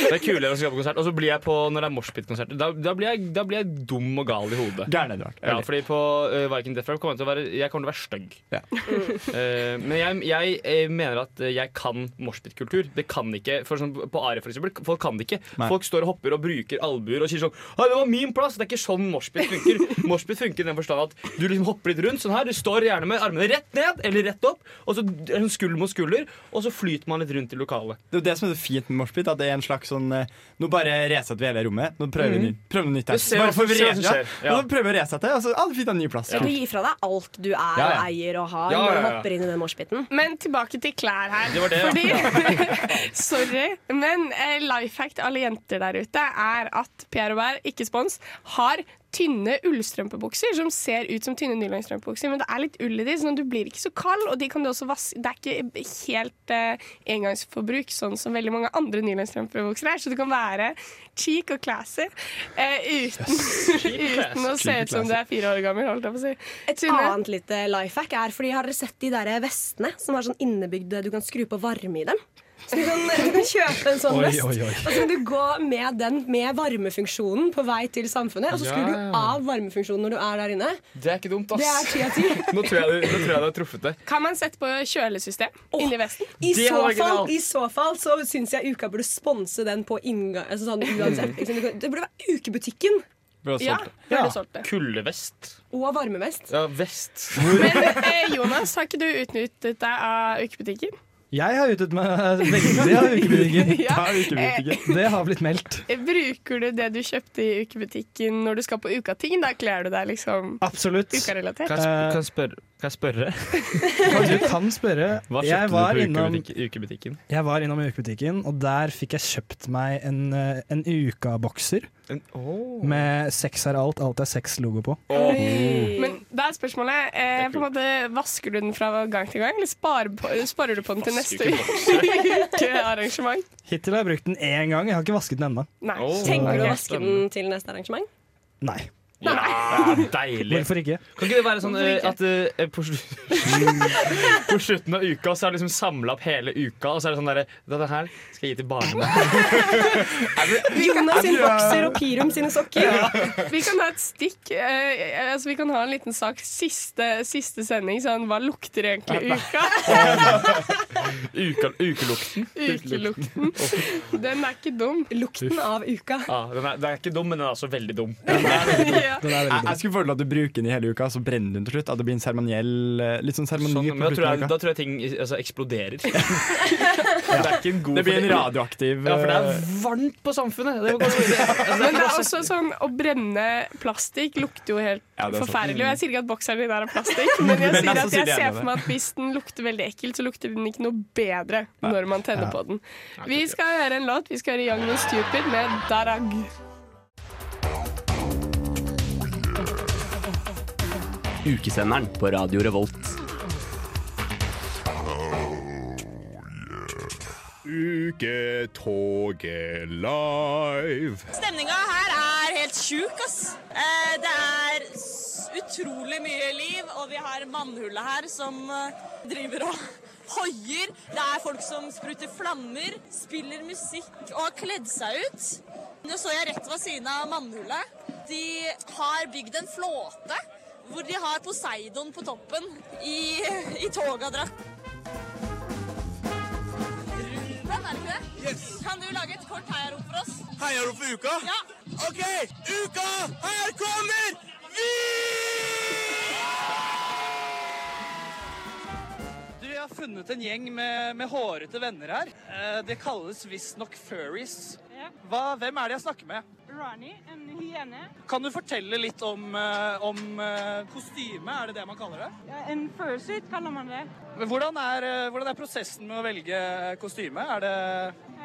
S6: Det er kulere å skal på konsert. Og så blir jeg på når det er moshpit-konserter. Da, da, blir jeg- da blir jeg dum og gal i hodet.
S8: Gæren Edvard.
S6: Ja, fordi på uh, Viking Death Row kommer jeg til å være, jeg kommer til å være stygg. *laughs* Eh, men jeg, jeg eh, mener at eh, jeg kan moshpit-kultur. Det kan ikke for sånn, På Are, for eksempel. Folk kan det ikke.
S8: Nei.
S6: Folk står og hopper og bruker albuer og sier sånn Hei, det var min plass! Det er ikke sånn moshpit funker. moshpit funker i den forstand at du liksom hopper litt rundt sånn her. Du står gjerne med armene rett ned eller rett opp, og så d- sånn skulder mot skulder, og så flyter man litt rundt i lokalet.
S8: Det er jo det som er så fint med moshpit. At det er en slags sånn eh, Nå bare resetter vi hele rommet. Nå prøver vi
S6: Mhm.
S8: ny- prøver noe nytt. her.
S6: Vi ser
S8: Bare
S6: hva-
S8: for vi
S6: ser hva
S8: re-
S6: som
S8: ja.
S6: skjer. Ja.
S8: Og så prøver vi å Altså, resette, og så alle finner en ny plass.
S10: Så du gir fra deg alt du er
S8: Ja,
S10: og
S8: ja.
S10: eier og har,
S8: Ja, ja,
S10: når du
S8: ja.
S10: hopper inn i den moshpiten?
S4: Men tilbake til klær her.
S10: Det var det, ja.
S4: Fordi, *laughs* sorry, men eh, life hack til alle jenter der ute er at Pierre Robert, ikke spons, har tynne ullstrømpebukser som ser ut som tynne nylonstrømpebukser, men det er litt ull i de, sånn at du blir ikke så kald, og de kan du også vaske. Det er ikke helt eh, engangsforbruk, sånn som veldig mange andre nylonstrømpebukser er, så du kan være cheek og classy eh, uten, uten å se ut som du er fire år gammel, holdt jeg på å si.
S10: Et annet lite life hack er fordi har dere sett de der vestene som har sånn innebygde Du kan skru på varme i dem. Så du kan, du kan kjøpe en sånn
S25: Oi,
S10: vest,
S25: oi, oi.
S10: og så kan du gå med den med varmefunksjonen på vei til samfunnet. Og så skrur
S6: Ja.
S10: du av varmefunksjonen når du er der inne.
S6: Det er ikke dumt,
S10: Det er
S6: ass.
S10: ti av ti.
S6: *laughs* Nå tror jeg du, nå tror jeg du har truffet det.
S4: Kan man sette på kjølesystem inni vesten?
S10: I
S6: Det
S10: så,
S6: hadde vært
S10: fall,
S6: genialt.
S10: I så fall så syns jeg uka burde sponse den på inngang. Altså sånn,
S6: *laughs*
S10: uansett, ikke sant? Du kan- det burde være ukebutikken. Ja, burde solgt det.
S6: Kullevest.
S10: Og varmevest.
S6: Ja, vest.
S4: Men eh, Jonas, har ikke du utnyttet deg av ukebutikken?
S5: Jeg har utet meg veldig av ukebutikken.
S6: *laughs*
S4: Ja. Ta ukebutikken.
S5: Det har blitt meldt.
S4: Eh, Bruker du det du kjøpte i ukebutikken når du skal på ukating? Da kler du deg liksom
S5: Absolutt.
S4: ukarelatert?
S6: Kan jeg, sp- kan jeg spørre? Kan jeg spørre?
S5: Du kan spørre.
S6: Hva
S5: Jeg
S6: kjøpte
S5: var
S6: du på
S5: innom-
S6: ukebutikk- ukebutikken?
S5: Jeg var innom ukebutikken, og der fikk jeg kjøpt meg en, eh, en ukabokser.
S6: En, oh.
S5: Med seks er alt, alt er seks-logo på.
S4: Men da er spørsmålet eh, på en måte, Vasker du den fra gang til gang, eller sparer, på, sparer du på den til neste
S5: Vasker ikke bokser.
S4: *laughs* ukearrangement?
S5: Hittil har jeg brukt den én gang, jeg har ikke vasket den ennå.
S4: Nei.
S5: Åh.
S10: Tenker du å
S5: Ok.
S10: vaske den til neste arrangement?
S5: Nei.
S6: Ja, deilig.
S5: Hvorfor ikke?
S6: Kan ikke det være sånn eh, at eh, på, slu- *laughs* på slutten av uka så er det liksom samla opp hele uka, og så er det sånn derre Dette her skal jeg gi til barna. *laughs*
S10: Jonas sin bokser og Pirum sine sokker.
S4: Vi kan ha et stikk. Eh, altså, vi kan ha en liten sak siste, siste sending. Sånn, hva lukter egentlig uka?
S6: Uka, ukelukten.
S4: Ukelukten. Den er ikke dum.
S10: Lukten
S6: Uff.
S10: av uka.
S6: Ja, den, er, den er ikke dum, men den er også veldig dum.
S27: ja.
S8: Jeg, jeg skulle føle at du bruker den i hele uka, så brenner den til slutt. At det blir en seremoniell eh, Litt sånn seremoni
S28: Sånn, men da,
S8: på
S28: tror jeg,
S8: slutten
S28: da
S8: av uka.
S28: tror jeg ting altså,
S8: *laughs*
S28: eksploderer. Det er ikke en god
S8: Det blir en radioaktiv
S28: Ja, for det er
S8: eh,
S28: varmt på samfunnet. Det
S4: *laughs* Men det er også
S28: *laughs*
S4: sånn, å brenne plastikk lukter jo helt
S8: Ja, det er sånn- sant.
S4: forferdelig. Og jeg sier ikke at bokseren din er av
S8: *laughs*
S4: plastikk, men jeg
S8: Men
S4: sier
S8: altså,
S4: at
S8: sier
S4: jeg
S8: de
S4: ser
S8: gjerne
S4: for meg at hvis den lukter veldig ekkelt, så lukter den ikke noe bedre når man tenner
S8: Ja.
S4: på den. Vi skal høre en låt. Vi skal høre Young and Stupid med Darag.
S23: Ukesenderen på Radio Revolt.
S29: Uketoget live.
S7: Stemninga her er helt sjuk, ass. Eh, Det er s- utrolig mye liv, og vi har mannhullet her som eh, driver og *laughs* hoier. Det er folk som spruter flammer, spiller musikk og har kledd seg ut. Nå så jeg rett ved siden av mannhullet. De har bygd en flåte hvor de har Poseidon på toppen i, *laughs* i togadrakt. Ruben, er det ikke det? Kan du lage et kort heiarop for oss?
S22: Heiarop for uka?
S7: Ja.
S22: OK, uka her kommer vi!
S5: Du, jeg har funnet en gjeng med, med hårete venner her. Eh, det kalles visstnok furries. Hva, hvem er det jeg snakker med?
S15: Rani, en hyene.
S5: Kan du fortelle litt om, eh, om eh, kostyme? Er det det man kaller det?
S15: En fursuit kaller man det.
S5: Men Hvordan er, eh, hvordan er prosessen med å velge kostyme? Er det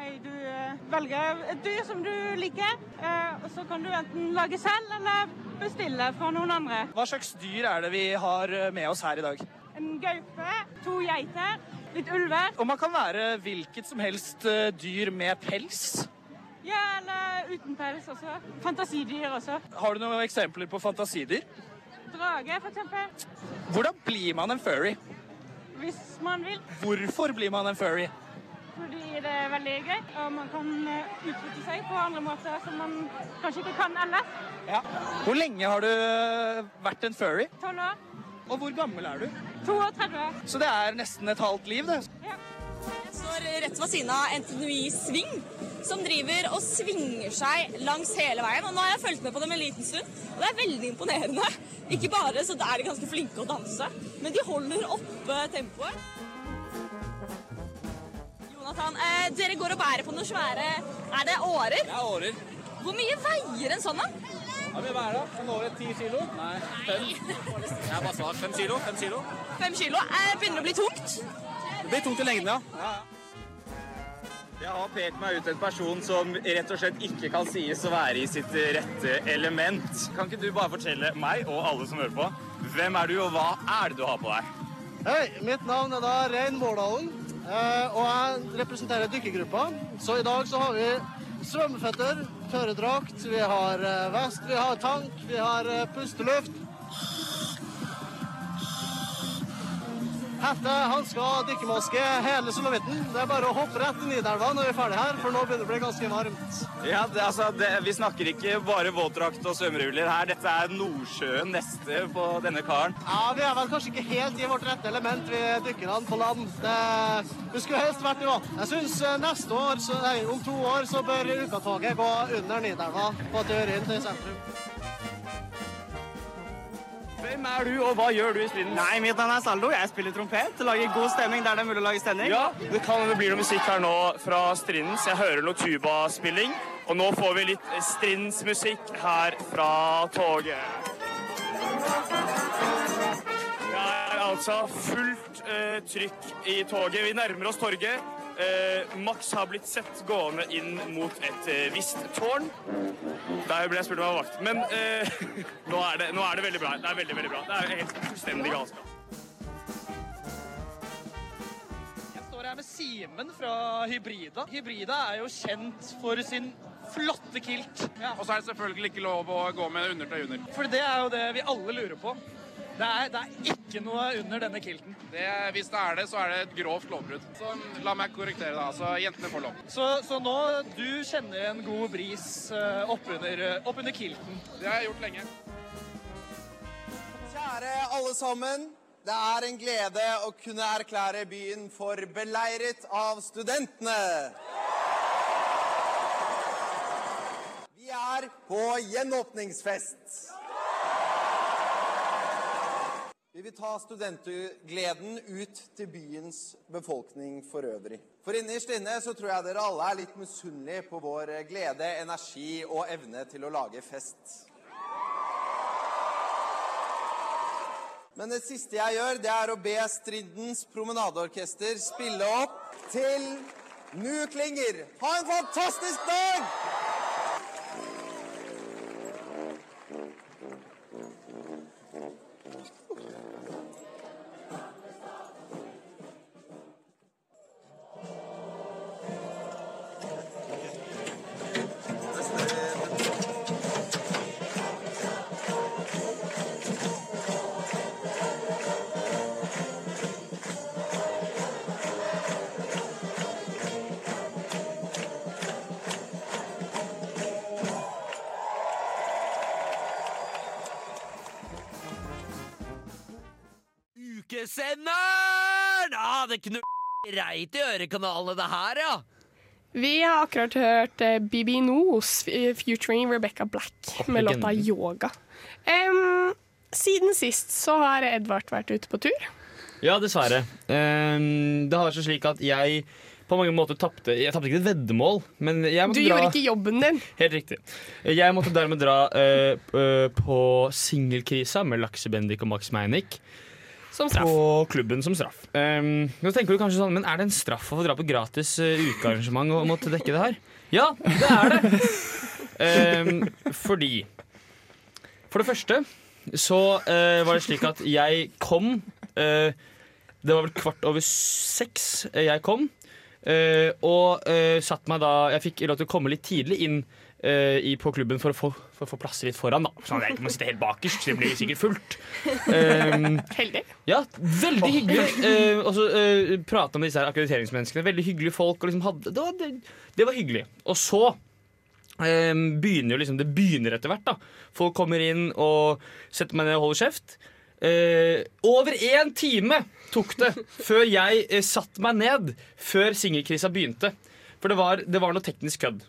S15: Hei, Du eh, velger et dyr som du liker, eh, og så kan du enten lage selv eller bestille fra noen andre.
S5: Hva slags dyr er det vi har eh, med oss her i dag?
S15: En gaupe, to geiter, litt ulver.
S5: Og man kan være hvilket som helst eh, dyr med pels.
S15: Ja, eller uten pels også. Fantasidyr også.
S5: Har du noen eksempler på fantasidyr?
S15: Drage, for eksempel.
S5: Hvordan blir man en furry?
S15: Hvis man vil.
S5: Hvorfor blir man en furry?
S15: Fordi det er veldig gøy, og man kan eh, utvikle seg på andre måter som man kanskje ikke kan ellers.
S5: Ja. Hvor lenge har du øh, vært en furry?
S15: 12 år.
S5: Og hvor gammel er du?
S15: 32 år.
S5: Så det er nesten et halvt liv, det.
S7: Jeg står rett ved siden av NTNUI Sving, som driver og svinger seg langs hele veien. Og nå har jeg fulgt med på dem en liten stund, og det er veldig imponerende. Ikke bare så er de ganske flinke å danse, men de holder oppe tempoet. Jonathan, eh, dere går og bærer på noen svære Er det årer? Det er årer. Hvor mye veier en sånn, da?
S6: Hva vil være da? En åre ti kilo? Nei. Fem. Jeg er bare svart. Fem kilo? Fem kilo?
S7: Fem kilo? Eh, begynner det å bli tungt?
S6: Det blir tungt i lengden, ja. Jeg har pekt meg ut en person som rett og slett ikke kan sies å være i sitt rette element. Kan ikke du bare fortelle meg og alle som hører på, hvem er du, og hva er det du har på deg?
S26: Hei, mitt navn er da Rein Mårdalen, eh, og jeg representerer dykkergruppa. Så i dag så har vi svømmeføtter, tørredrakt, vi har eh, vest, vi har tank, vi har eh, pusteluft. Hette, hansker, dykkermaske, hele sulamitten. Det er bare å hoppe rett i Nidelva når vi er ferdig her, for nå begynner det å bli ganske varmt.
S6: Ja, det, altså, det, Vi snakker ikke bare våtdrakt og svømmeruller her. Dette er Nordsjøen neste på denne karen.
S26: Ja, Vi er vel kanskje ikke helt i vårt rette element, vi dykkerne på land. Det, vi skulle helst vært i vann. Jeg syns neste år, så, nei, om to år, så bør ukatoget gå under Nidelva på tur inn til sentrum.
S6: Hvem er du, og hva gjør du i spillen? Nei, Mitt navn er Saldo. Jeg spiller trompet. Lager god stemning der det er mulig å lage stemning. Ja, Det kan hende det blir noe musikk her nå fra Strindens. Jeg hører noe tubaspilling. Og nå får vi litt Strindens musikk her fra toget. Det er altså fullt eh, trykk i toget. Vi nærmer oss torget. Eh, Max har blitt sett gående inn mot et eh, visst tårn. Der ble jeg spurt om jeg var vakt. Men eh, *laughs* nå, er det, nå er det veldig bra. Det er veldig, veldig bra. Det er helt fullstendig galskap.
S5: Jeg står her med Simen fra Hybrida. Hybrida er jo kjent for sin flotte kilt.
S12: Og så er det selvfølgelig ikke lov å gå med undertøy under.
S5: For det er jo det vi alle lurer på. Det er, det er ikke noe under denne kilten.
S12: Det, hvis det er det, så er det et grovt lovbrudd. Så la meg korrektere det, altså. Jentene får lov.
S5: Så, så nå du kjenner en god bris eh, oppunder, oppunder kilten.
S12: Det har jeg gjort lenge.
S22: Kjære alle sammen. Det er en glede å kunne erklære byen for beleiret av studentene. Vi er på gjenåpningsfest. Vi vil ta studentgleden ut til byens befolkning for øvrig. For innerst inne så tror jeg dere alle er litt misunnelige på vår glede, energi og evne til å lage fest. Men det siste jeg gjør, det er å be Strindens promenadeorkester spille opp til Nu klinger. Ha en fantastisk dag!
S9: Ukesenderen! Ah, det knu... Reit i ørekanalene det her, ja.
S4: Vi har akkurat hørt eh, BB Noos eh, featuring Rebecca Black med
S9: legenden.
S4: låta 'Yoga'. Em, siden sist så har Edvard vært ute på tur.
S6: Ja, dessverre. Ehm, det har vært så slik at jeg på mange måter tapte Jeg tapte ikke et veddemål, men jeg måtte
S4: Du
S6: dra
S4: gjorde ikke jobben
S8: *laughs*
S4: din.
S6: Helt riktig. Jeg måtte dermed dra eh, p- eh, på singelkrisa med Laksebendik og Max Meinick.
S4: Som
S6: straff. På klubben som straff. Ehm, nå tenker du kanskje sånn, men er det en straff å få dra på gratis eh, ukearrangement og måtte dekke det her? Ja, det er det. Ehm, fordi For det første så eh, var det slik at jeg kom eh, Det var vel kvart over seks eh, jeg kom. eh, og eh, satt meg da Jeg fikk lov til å komme litt tidlig inn eh, i, på klubben for å få, for å få plass litt foran. Da. Sånn at jeg ikke må sitte helt bakerst. så Det blir sikkert fullt. Ehm,
S4: Heldig.
S6: ja, veldig hyggelig. Eh, og så eh, prate om disse her akkrediteringsmenneskene. Veldig hyggelige folk. Og liksom hadde, det, var, det, det var hyggelig. Og så eh, begynner jo liksom Det begynner etter hvert. da Folk kommer inn og setter meg ned og holder kjeft. Eh, over én time tok det før jeg eh, satte meg ned, før singelkrisa begynte. For det var, det var noe teknisk kødd.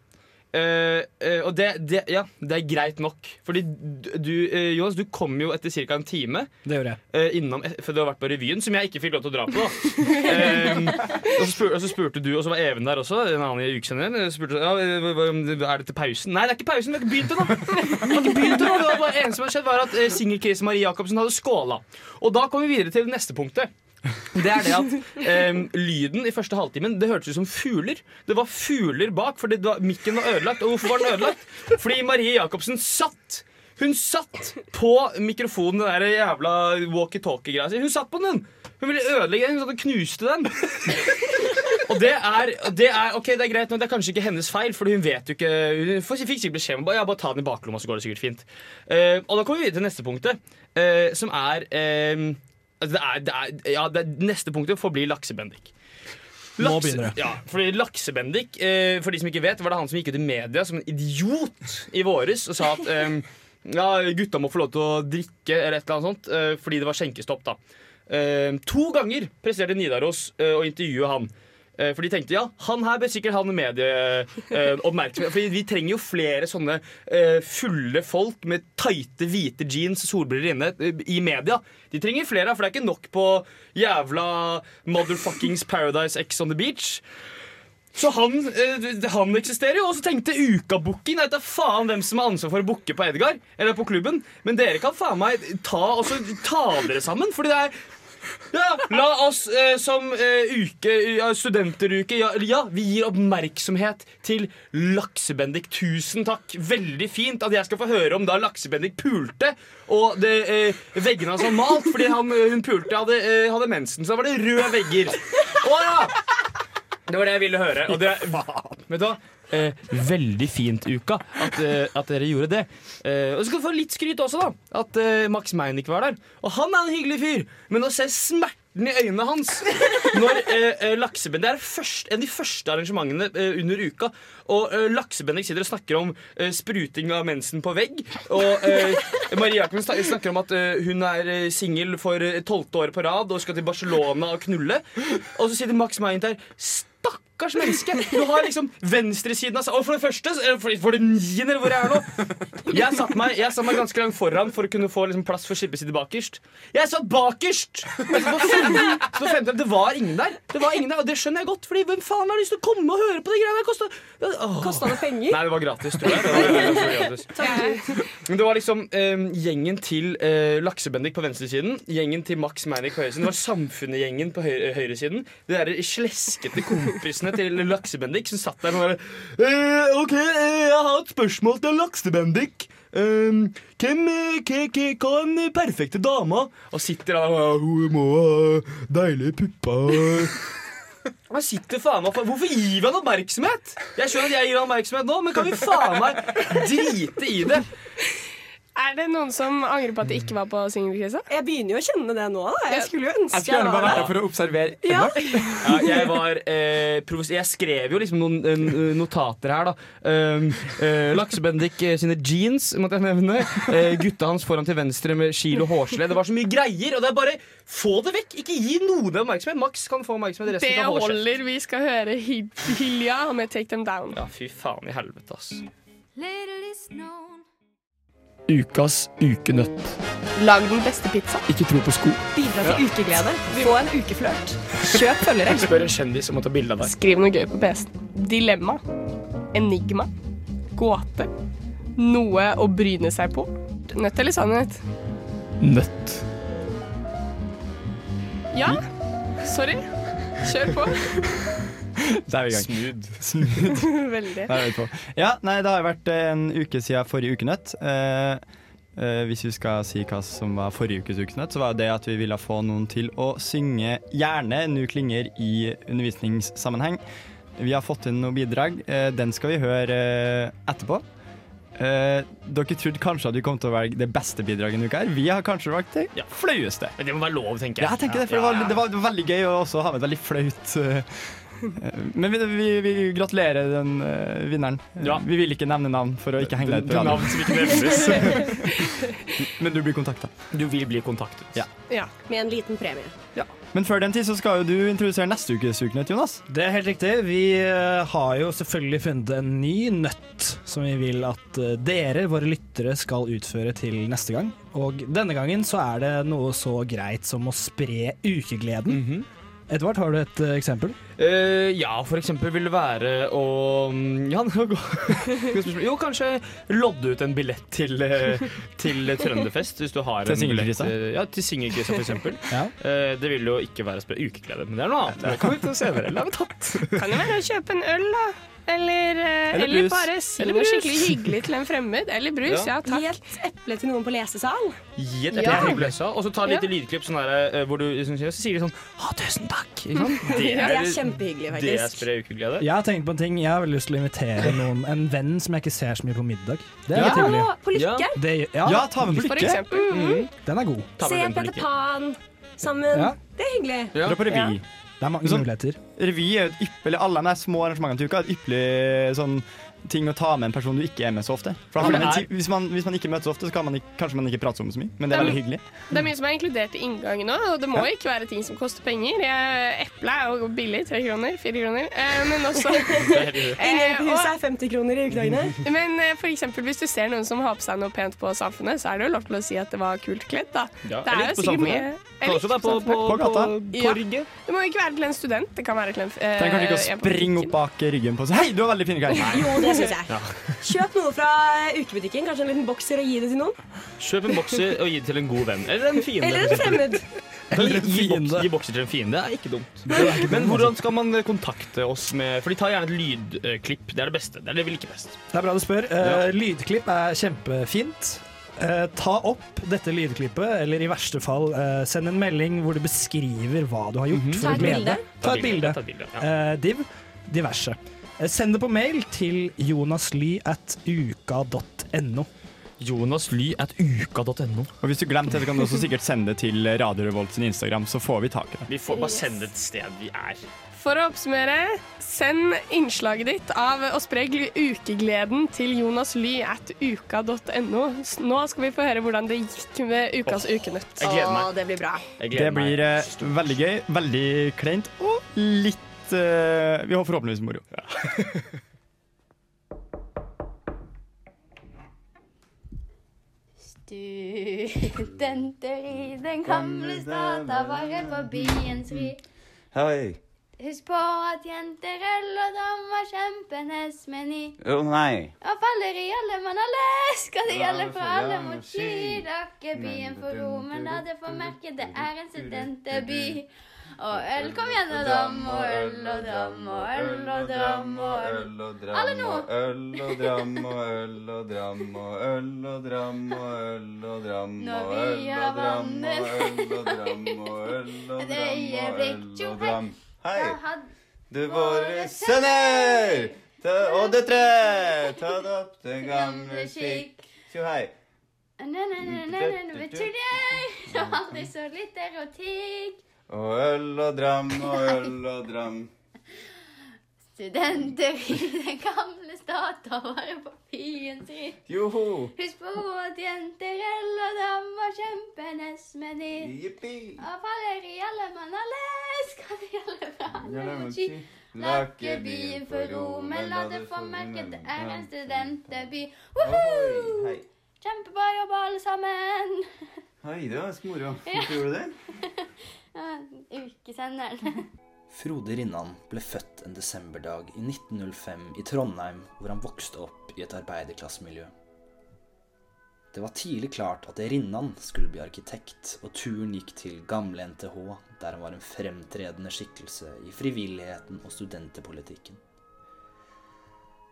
S6: Eh, eh, og det, det, ja, det er greit nok. Fordi d- du, eh, Jonas, du kom jo etter ca. en time.
S5: Det gjorde jeg.
S6: Eh, innom, for du har vært på revyen, som jeg ikke fikk lov til å dra på. Ehm, og, så spur, og så spurte du, og så var Even der også, en annen i ukesenderen. eh, spurte, Ja, eh, hva- hva- er det til pausen? Nei, det er ikke pausen, vi har ikke begynt ennå! *laughs* Vi har ikke begynt ennå. Det var bare- eneste som hadde skjedd, var at eh, singelkrise Marie Jacobsen hadde skåla. Og da kom vi videre til neste punktet. Det er det at ehm, lyden i første halvtimen Det hørtes ut som fugler. Det var fugler bak, for det var, mikken var ødelagt. Og hvorfor var den ødelagt? Fordi Marie Jacobsen satt! Hun satt på mikrofonen, den der jævla walkietalkie-greia si. Hun satt på den! Hun ville ødelegge den, hun satt og knuste den. Og det er, og det er Ok, det er greit, men det er kanskje ikke hennes feil, Fordi hun vet jo ikke Hun får- fikk sikkert beskjed om bare, ja, bare ta den i baklomma, så går det sikkert fint. Eh, og da kommer vi videre til neste punktet, eh, som er, eh, altså det er, det er Ja, det er neste punktet forblir laksebendik.
S5: Nå begynner det.
S6: Ja, fordi Laksebendik, eh, for de som ikke vet, var det han som gikk ut i media som en idiot i våres og sa at eh, ja, gutta må få lov til å drikke eller et eller annet sånt eh, fordi det var skjenkestopp. da. Eh, to ganger presterte Nidaros eh, å intervjue han. Eh, For de tenkte ja, han her bør sikkert ha noe medieoppmerksomhet. Fordi vi trenger jo flere sånne eh, fulle folk med tighte, hvite jeans og solbriller inne eh, i media. De trenger flere, for det er ikke nok på jævla motherfuckings Paradise X on the beach. Så han, eh, han eksisterer jo, og så tenkte ukabooking Jeg vet da faen hvem som har ansvar for å booke på Edgar, eller på klubben, men dere kan faen meg ta, og så ta dere sammen, fordi det er ja, la oss eh, som eh, uke, ja, studenteruke ja, ja, vi gir oppmerksomhet til Laksebendik. Tusen takk. Veldig fint at jeg skal få høre om da Laksebendik pulte, og det, eh, veggene hans var malt fordi han, eh, hun pulte hadde, eh, hadde mensen. Så da var det røde vegger. Å ja! Det var det jeg ville
S8: *laughs*
S6: høre. Og det, vet du hva? Eh, veldig fint, Uka, at, eh, at dere gjorde det. Eh, og så skal du få litt skryt også, da. At eh, Max Meinick var der. Og han er en hyggelig fyr, men å se smerten i øynene hans når eh, eh, Lakseben Det er først, en av de første arrangementene eh, under uka, og eh, Laksebendik sitter og snakker om eh, spruting av mensen på vegg. Og eh, Marie Jacobsen snak- snakker om at eh, hun er eh, singel for eh, tolvte året på rad og skal til Barcelona og knulle. Og så sitter Max Meinick der. Stakkars!
S5: stakkars menneske! Du har liksom venstresiden av Og for det første, eh, for, for det niende eller hvor jeg er nå Jeg satte meg, jeg satt meg ganske langt foran for å kunne få liksom, plass for skippersidet bakerst. Jeg satt bakerst! Jeg satt på femte- så på femte, det var ingen der. Det var ingen der, Og det skjønner jeg godt, Fordi hvem faen har lyst til å komme og høre på de greiene der? Kosta- Åh.
S10: Kosta det penger?
S6: Nei, det var gratis, tror jeg. Det var, det var gratis. Men det var liksom
S5: ehm,
S6: eh, gjengen til eh, Laksebendik på venstresiden, gjengen til Max Manic på høyresiden, det var Samfunnet-gjengen på høy høyresiden. De der sleskete kompisene til Laksebendik som satt der og bare eh, OK, eh, jeg har et spørsmål til Laksebendik. Ehm, hvem eh, ke- ke- Hva er den perfekte dama? Og sitter der og bare, Hun må ha deilige pupper. *laughs* Han sitter faen meg for- Hvorfor gir vi han oppmerksomhet? Jeg skjønner at jeg gir han oppmerksomhet nå, men kan vi faen meg drite i det?
S4: Er det noen som angrer på at de ikke var på singelkrisa?
S10: Jeg begynner jo å kjenne det nå. Da. Jeg skulle jo ønske jeg var der.
S8: for å observere
S10: Ja.
S6: Ja, jeg var eh, provos- Jeg skrev jo liksom noen eh, notater her, da. Um, eh, Laksebendik eh, sine jeans, måtte jeg nevne. Eh, gutta hans foran til venstre med kilo hårslede. Det var så mye greier, og det er bare få det vekk! Ikke gi noen oppmerksomhet. Max kan få oppmerksomhet.
S4: Det
S6: Resten kan holde seg.
S4: holder. Vi skal høre Hil- Hilja med 'Take Them Down'.
S6: Ja, fy faen i helvete, ass.
S18: Ukas ukenøtt.
S4: Lag den beste pizza.
S18: Ikke tro på sko.
S25: Bidra til ukeglede. Få en ukeflørt.
S4: Kjøp følgere.
S18: Spør en kjendis om å ta bilde av deg.
S4: Skriv noe gøy på PC-en. Dilemma. Enigma. Gåte. Noe å bryne seg på. Nødt eller sannhet?
S18: Nøtt.
S4: Ja. Sorry. Kjør på. *laughs*
S8: Da er vi i gang. Smooth.
S4: Veldig.
S8: Da er vi på. Ja, nei, det har vært eh, en uke siden forrige Ukenøtt. Eh, eh, hvis vi skal si hva som var forrige ukes Ukenøtt, så var det at vi ville få noen til å synge gjerne Nu klinger i undervisningssammenheng. Vi har fått inn noen bidrag. Eh, den skal vi høre eh, etterpå. Eh, dere trodde kanskje at vi kom til å velge det beste bidraget denne uka. her. Vi har kanskje valgt det flaueste.
S6: Men det må være lov, tenker jeg.
S8: Ja, jeg tenker det, for det var, det var veldig gøy å også ha med et veldig flaut eh, Men vi, vi, vi gratulerer den eh, vinneren. Vi vil ikke nevne navn for å ikke henge deg ut på
S18: Den-
S8: radioen.
S18: navn som ikke
S8: *laughs* Men du blir kontakta.
S6: Du vil bli kontaktet.
S8: Ja.
S10: Med en liten premie.
S8: Men før den tid så skal jo du introdusere neste ukes Ukenøtt, Jonas.
S5: Det er helt riktig. Vi eh, har jo selvfølgelig funnet en ny nøtt som vi vil at eh, dere, våre lyttere, skal utføre til neste gang. Og denne gangen så er det noe så greit som å spre ukegleden.
S8: Mhm.
S5: Edvard, har du et eh, eksempel?
S6: Eh, ja, for eksempel vil det være å mm, ja, *laughs* det var godt. Godt spørsmål. Jo, kanskje lodde ut en billett til, eh, til Trønderfest. Hvis du har
S8: Til
S6: en billett,
S8: singelkrisa.
S6: eh, Ja, til singelkrisa, for eksempel. Eh, det vil jo ikke være spre ukeglede, men det er noe annet. Det kommer vi til senere. La meg ta
S4: Kan jo være å kjøpe en øl, da. Eller, eh,
S6: Eller
S4: eller
S6: brus.
S4: bare si
S6: Eller
S4: noe
S6: brus.
S4: skikkelig hyggelig til en fremmed. Eller brus, ja,
S6: Ja.
S4: takk.
S10: Gi et eple til noen på lesesal.
S6: Gi et
S10: Ja.
S6: eple til gløssa, og så ta et lite
S10: Ja.
S6: lydklipp sånn der, eh, hvor du liksom, sier- så sier de sånn Å, tusen takk!
S10: *laughs*
S6: Ikke sant?
S10: Det er kjempehyggelig,
S6: Det er
S10: faktisk.
S6: spre ukeglede.
S5: Jeg har tenkt på en ting. Jeg har veldig lyst til å invitere noen, en venn som jeg ikke ser så mye på middag. Det er
S10: Ja,
S5: litt hyggelig.
S10: på lykke.
S5: Ja, det- ja.
S8: Ja, ta med på
S5: For
S8: lykke.
S5: eksempel.
S8: Mhm.
S5: Den er god.
S10: Se Peter Pan sammen.
S8: Ja.
S10: Det er hyggelig.
S8: Dra på revy.
S5: Det er mange muligheter.
S8: Revy er jo et ypperlig Alle de der små arrangementene til uka er et ypperlig sånn ting å ta med en person du ikke er med så ofte. For da
S6: Ja,
S8: har man
S6: men
S8: en
S6: det er-
S8: ti- hvis, man, hvis man ikke møtes ofte, så kan man ikke, kanskje man ikke prater om så mye, men det er
S4: Nei,
S8: veldig
S4: men-
S8: hyggelig.
S4: Det er mye som er inkludert i inngangen òg, og det må
S8: Ja.
S4: ikke være ting som koster penger. Jeg- Eple er jo billig, tre kroner, fire kroner. Eh, Men
S6: *laughs*
S4: også
S25: *laughs*
S4: Eh,
S25: Eh,
S10: Inngangen på huset er 50 kroner i ukedagene.
S4: Men eh, for eksempel, hvis du ser noen som har på seg noe pent på samfunnet, så er det jo lov til å si at det var kult kledd, da.
S6: Ja,
S4: det
S6: eller
S4: er
S6: ikke på
S4: jo sikkert
S6: Samfunnet.
S4: mye
S6: Kan også være på- på- På gata. på- på rygget.
S4: Det må jo ikke være til en student, det kan være til en eh,
S8: Trenger kanskje ikke
S4: en
S8: å
S4: på
S8: springe opp bak ryggen på seg. Hei, du har veldig fine
S10: *laughs*
S8: klær.
S10: Jo, det synes jeg. Kjøp noe fra ukebutikken, kanskje en liten bokser, og gi det til noen.
S6: Kjøp en bokser og gi det til en god venn. Eller en fiende.
S10: Eller
S6: for
S10: en
S6: eksempel.
S10: fremmed.
S6: Gi, gi, boks- gi bokser til en fiende er ikke dumt. Men hvordan skal man eh, kontakte oss med For de tar gjerne et lydklipp. Det er det beste. Det er det vi liker best.
S5: Det er bra du spør. Eh, Lydklipp er kjempefint. Eh, ta opp dette lydklippet, eller i verste fall eh, send en melding hvor du beskriver hva du har gjort.
S6: Ta
S5: for å
S6: et
S5: glede.
S6: bilde.
S5: Mm. Ta et bilde.
S6: Ta et bilde, Mhm. ja.
S5: Eh, div. Diverse. Eh, send det på mail til jonasly at uka.no.
S6: Jonasly at uka.no.
S8: Og hvis du glemte det, så kan du også sikkert sende det til Radio Revolt sin Instagram, så får vi tak i det.
S6: Vi får bare sende det et sted vi er.
S4: For å oppsummere, send innslaget ditt av å spre gl- ukegleden til jonasly at uka.no. S- Nå skal vi få høre hvordan det gikk med ukas ukenøtt.
S8: jeg gleder meg.
S10: Å, det blir bra.
S8: Det blir eh, veldig gøy, veldig kleint og litt litt eh, Vi har forhåpentligvis moro.
S10: *laughs*
S25: Studenter i den gamle stat har vært på byens ri.
S13: Hei.
S25: Husk på at jenter, øl og dam er kjempenes meny.
S13: Å nei.
S25: Og faller i alle mann har lest, skal det gjelde for alle mot sky. Dere byen for ro, men la det få merke, det er en studenteby. Og øl, kom igjen, og dam, og øl og dam, og øl og dam, og øl.
S13: Øl og
S25: Alle
S13: dram
S25: nå.
S13: og øl og dram og øl og dram og øl og dram og øl og dram
S25: Når
S13: og
S25: vi
S13: øl
S25: har
S13: og dram
S25: vannet
S13: og øl og dram og øl og
S25: Et
S13: dram og
S25: øyeblikk,
S13: øl
S25: tjo,
S13: og dram. Hei,
S25: Da hadde
S13: du våre sønner ta- og døtre, ta opp den gamle skikk. Tjo hei.
S25: *laughs* Det var alltid så litt erotikk.
S13: Og øl og dram og øl og dram.
S25: Studenter i den gamle stat har vært på byens ry.
S13: Joho.
S25: Husk på at jenter, øl og dam var kjempenes meny.
S13: Jippi.
S25: Og faller i alle mann har lest, skal det gjelde for alle mot sky.
S13: Lakke
S25: Ikke byen for ro, men la det få merke at det er en studenteby.
S13: Ohoi, Hei.
S25: Kjempebra jobba, alle sammen.
S13: Hei, det var ganske moro. Hvorfor gjorde du det?
S25: *laughs* Ja, Ukesenderen.
S5: Frode Rinnan ble født en desemberdag i 1905 i Trondheim, hvor han vokste opp i et arbeiderklassemiljø. Det var tidlig klart at Rinnan skulle bli arkitekt, og turen gikk til gamle NTH, der han var en fremtredende skikkelse i frivilligheten og studenterpolitikken.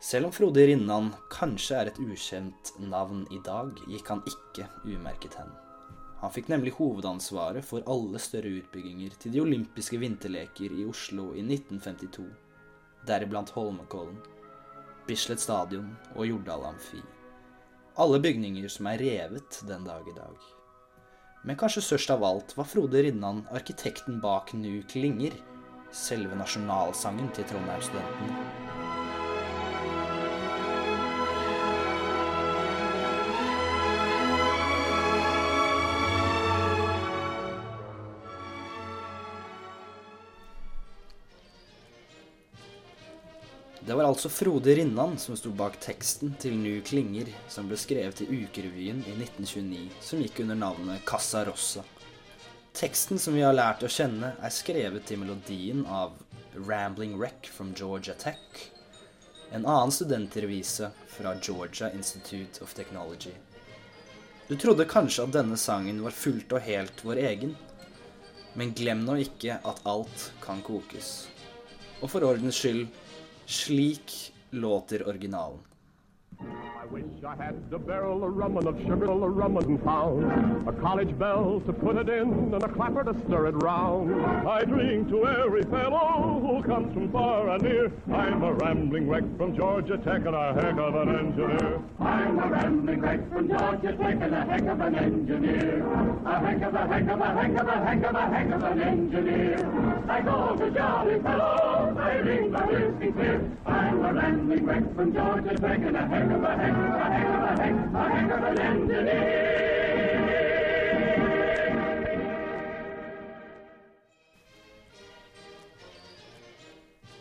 S5: Selv om Frode Rinnan kanskje er et ukjent navn i dag, gikk han ikke umerket hen. Han fikk nemlig hovedansvaret for alle større utbygginger til de olympiske vinterleker i Oslo i 1952, deriblant Holmenkollen, Bislett Stadion og Jordal Amfi. Alle bygninger som er revet den dag i dag. Men kanskje størst av alt var Frode Rinnan, arkitekten bak Nu Klinger, selve nasjonalsangen til Trondheim-studentene. Det var altså Frode Rinnan som sto bak teksten til Nu Klinger, som ble skrevet i Ukerevyen i 1929, som gikk under navnet Casa Rossa. Teksten som vi har lært å kjenne, er skrevet til melodien av Rambling Wreck from Georgia Tech, en annen studentrevise fra Georgia Institute of Technology. Du trodde kanskje at denne sangen var fullt og helt vår egen, men glem nå ikke at alt kan kokes. Og for ordens skyld, slik låter originalen. I wish I had a barrel of rummin of sugar a rummin found, a college bell to put it in and a clapper to stir it round. I drink to every fellow who comes from far and near. I'm a rambling wreck from Georgia Tech and a heck of an engineer. I'm a rambling wreck from Georgia Tech and a heck of an engineer. A heck of a heck of a heck of a heck of a heck of an engineer. I go to jolly fellow, I ring the whiskey clear. I'm a rambling wreck from Georgia Tech and a heck of a heck of a heck of a heck of a heck of an engineer.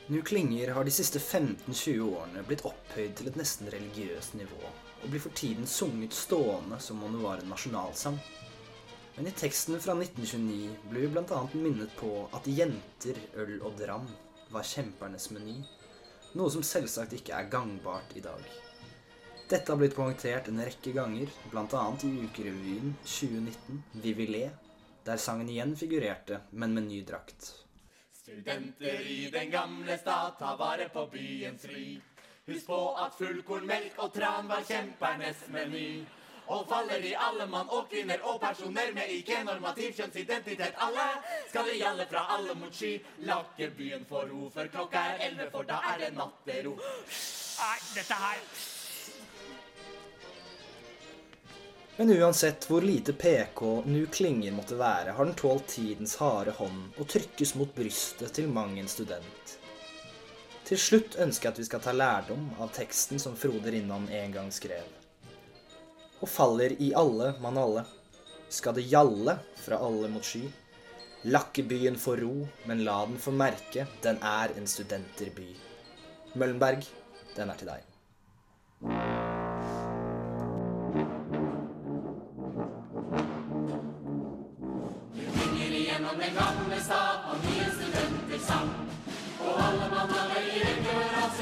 S5: Nu Klinger har de siste 15-20 årene blitt opphøyd til et nesten religiøst nivå, og blir for tiden sunget stående som om det var en nasjonalsang. Men i teksten fra 1929 blir vi bl.a. minnet på at jenter, øl og dram var kjempernes meny, noe som selvsagt ikke er gangbart i dag. Dette har blitt poengtert en rekke ganger, bl.a. i Ukerevyen 2019, Vi vil le, der sangen igjen figurerte, men med ny drakt.
S16: Studenter i den gamle stat tar vare på byens ri. Husk på at fullkorn, melk og tran var kjempernes meny. Og faller i alle mann og kvinner og personer med ikke-normativ kjønnsidentitet. Alle skal det gjalle fra alle mot sky. Lakke byen for ro før klokka er elleve, for da er det nattero. Nei, dette her
S5: Men uansett hvor lite PK nu klinger måtte være, har den tålt tidens harde hånd og trykkes mot brystet til mang en student. Til slutt ønsker jeg at vi skal ta lærdom av teksten som Frode Rinnan en gang skrev. Og faller i alle mann alle, skal det gjalle fra alle mot sky.
S12: Lakke byen for ro, men la den få merke, den er en studenterby. Møllenberg, den er til deg.
S16: synger igjennom den gamle stad av nye studenter sang. Og alle mann og løyer i kør og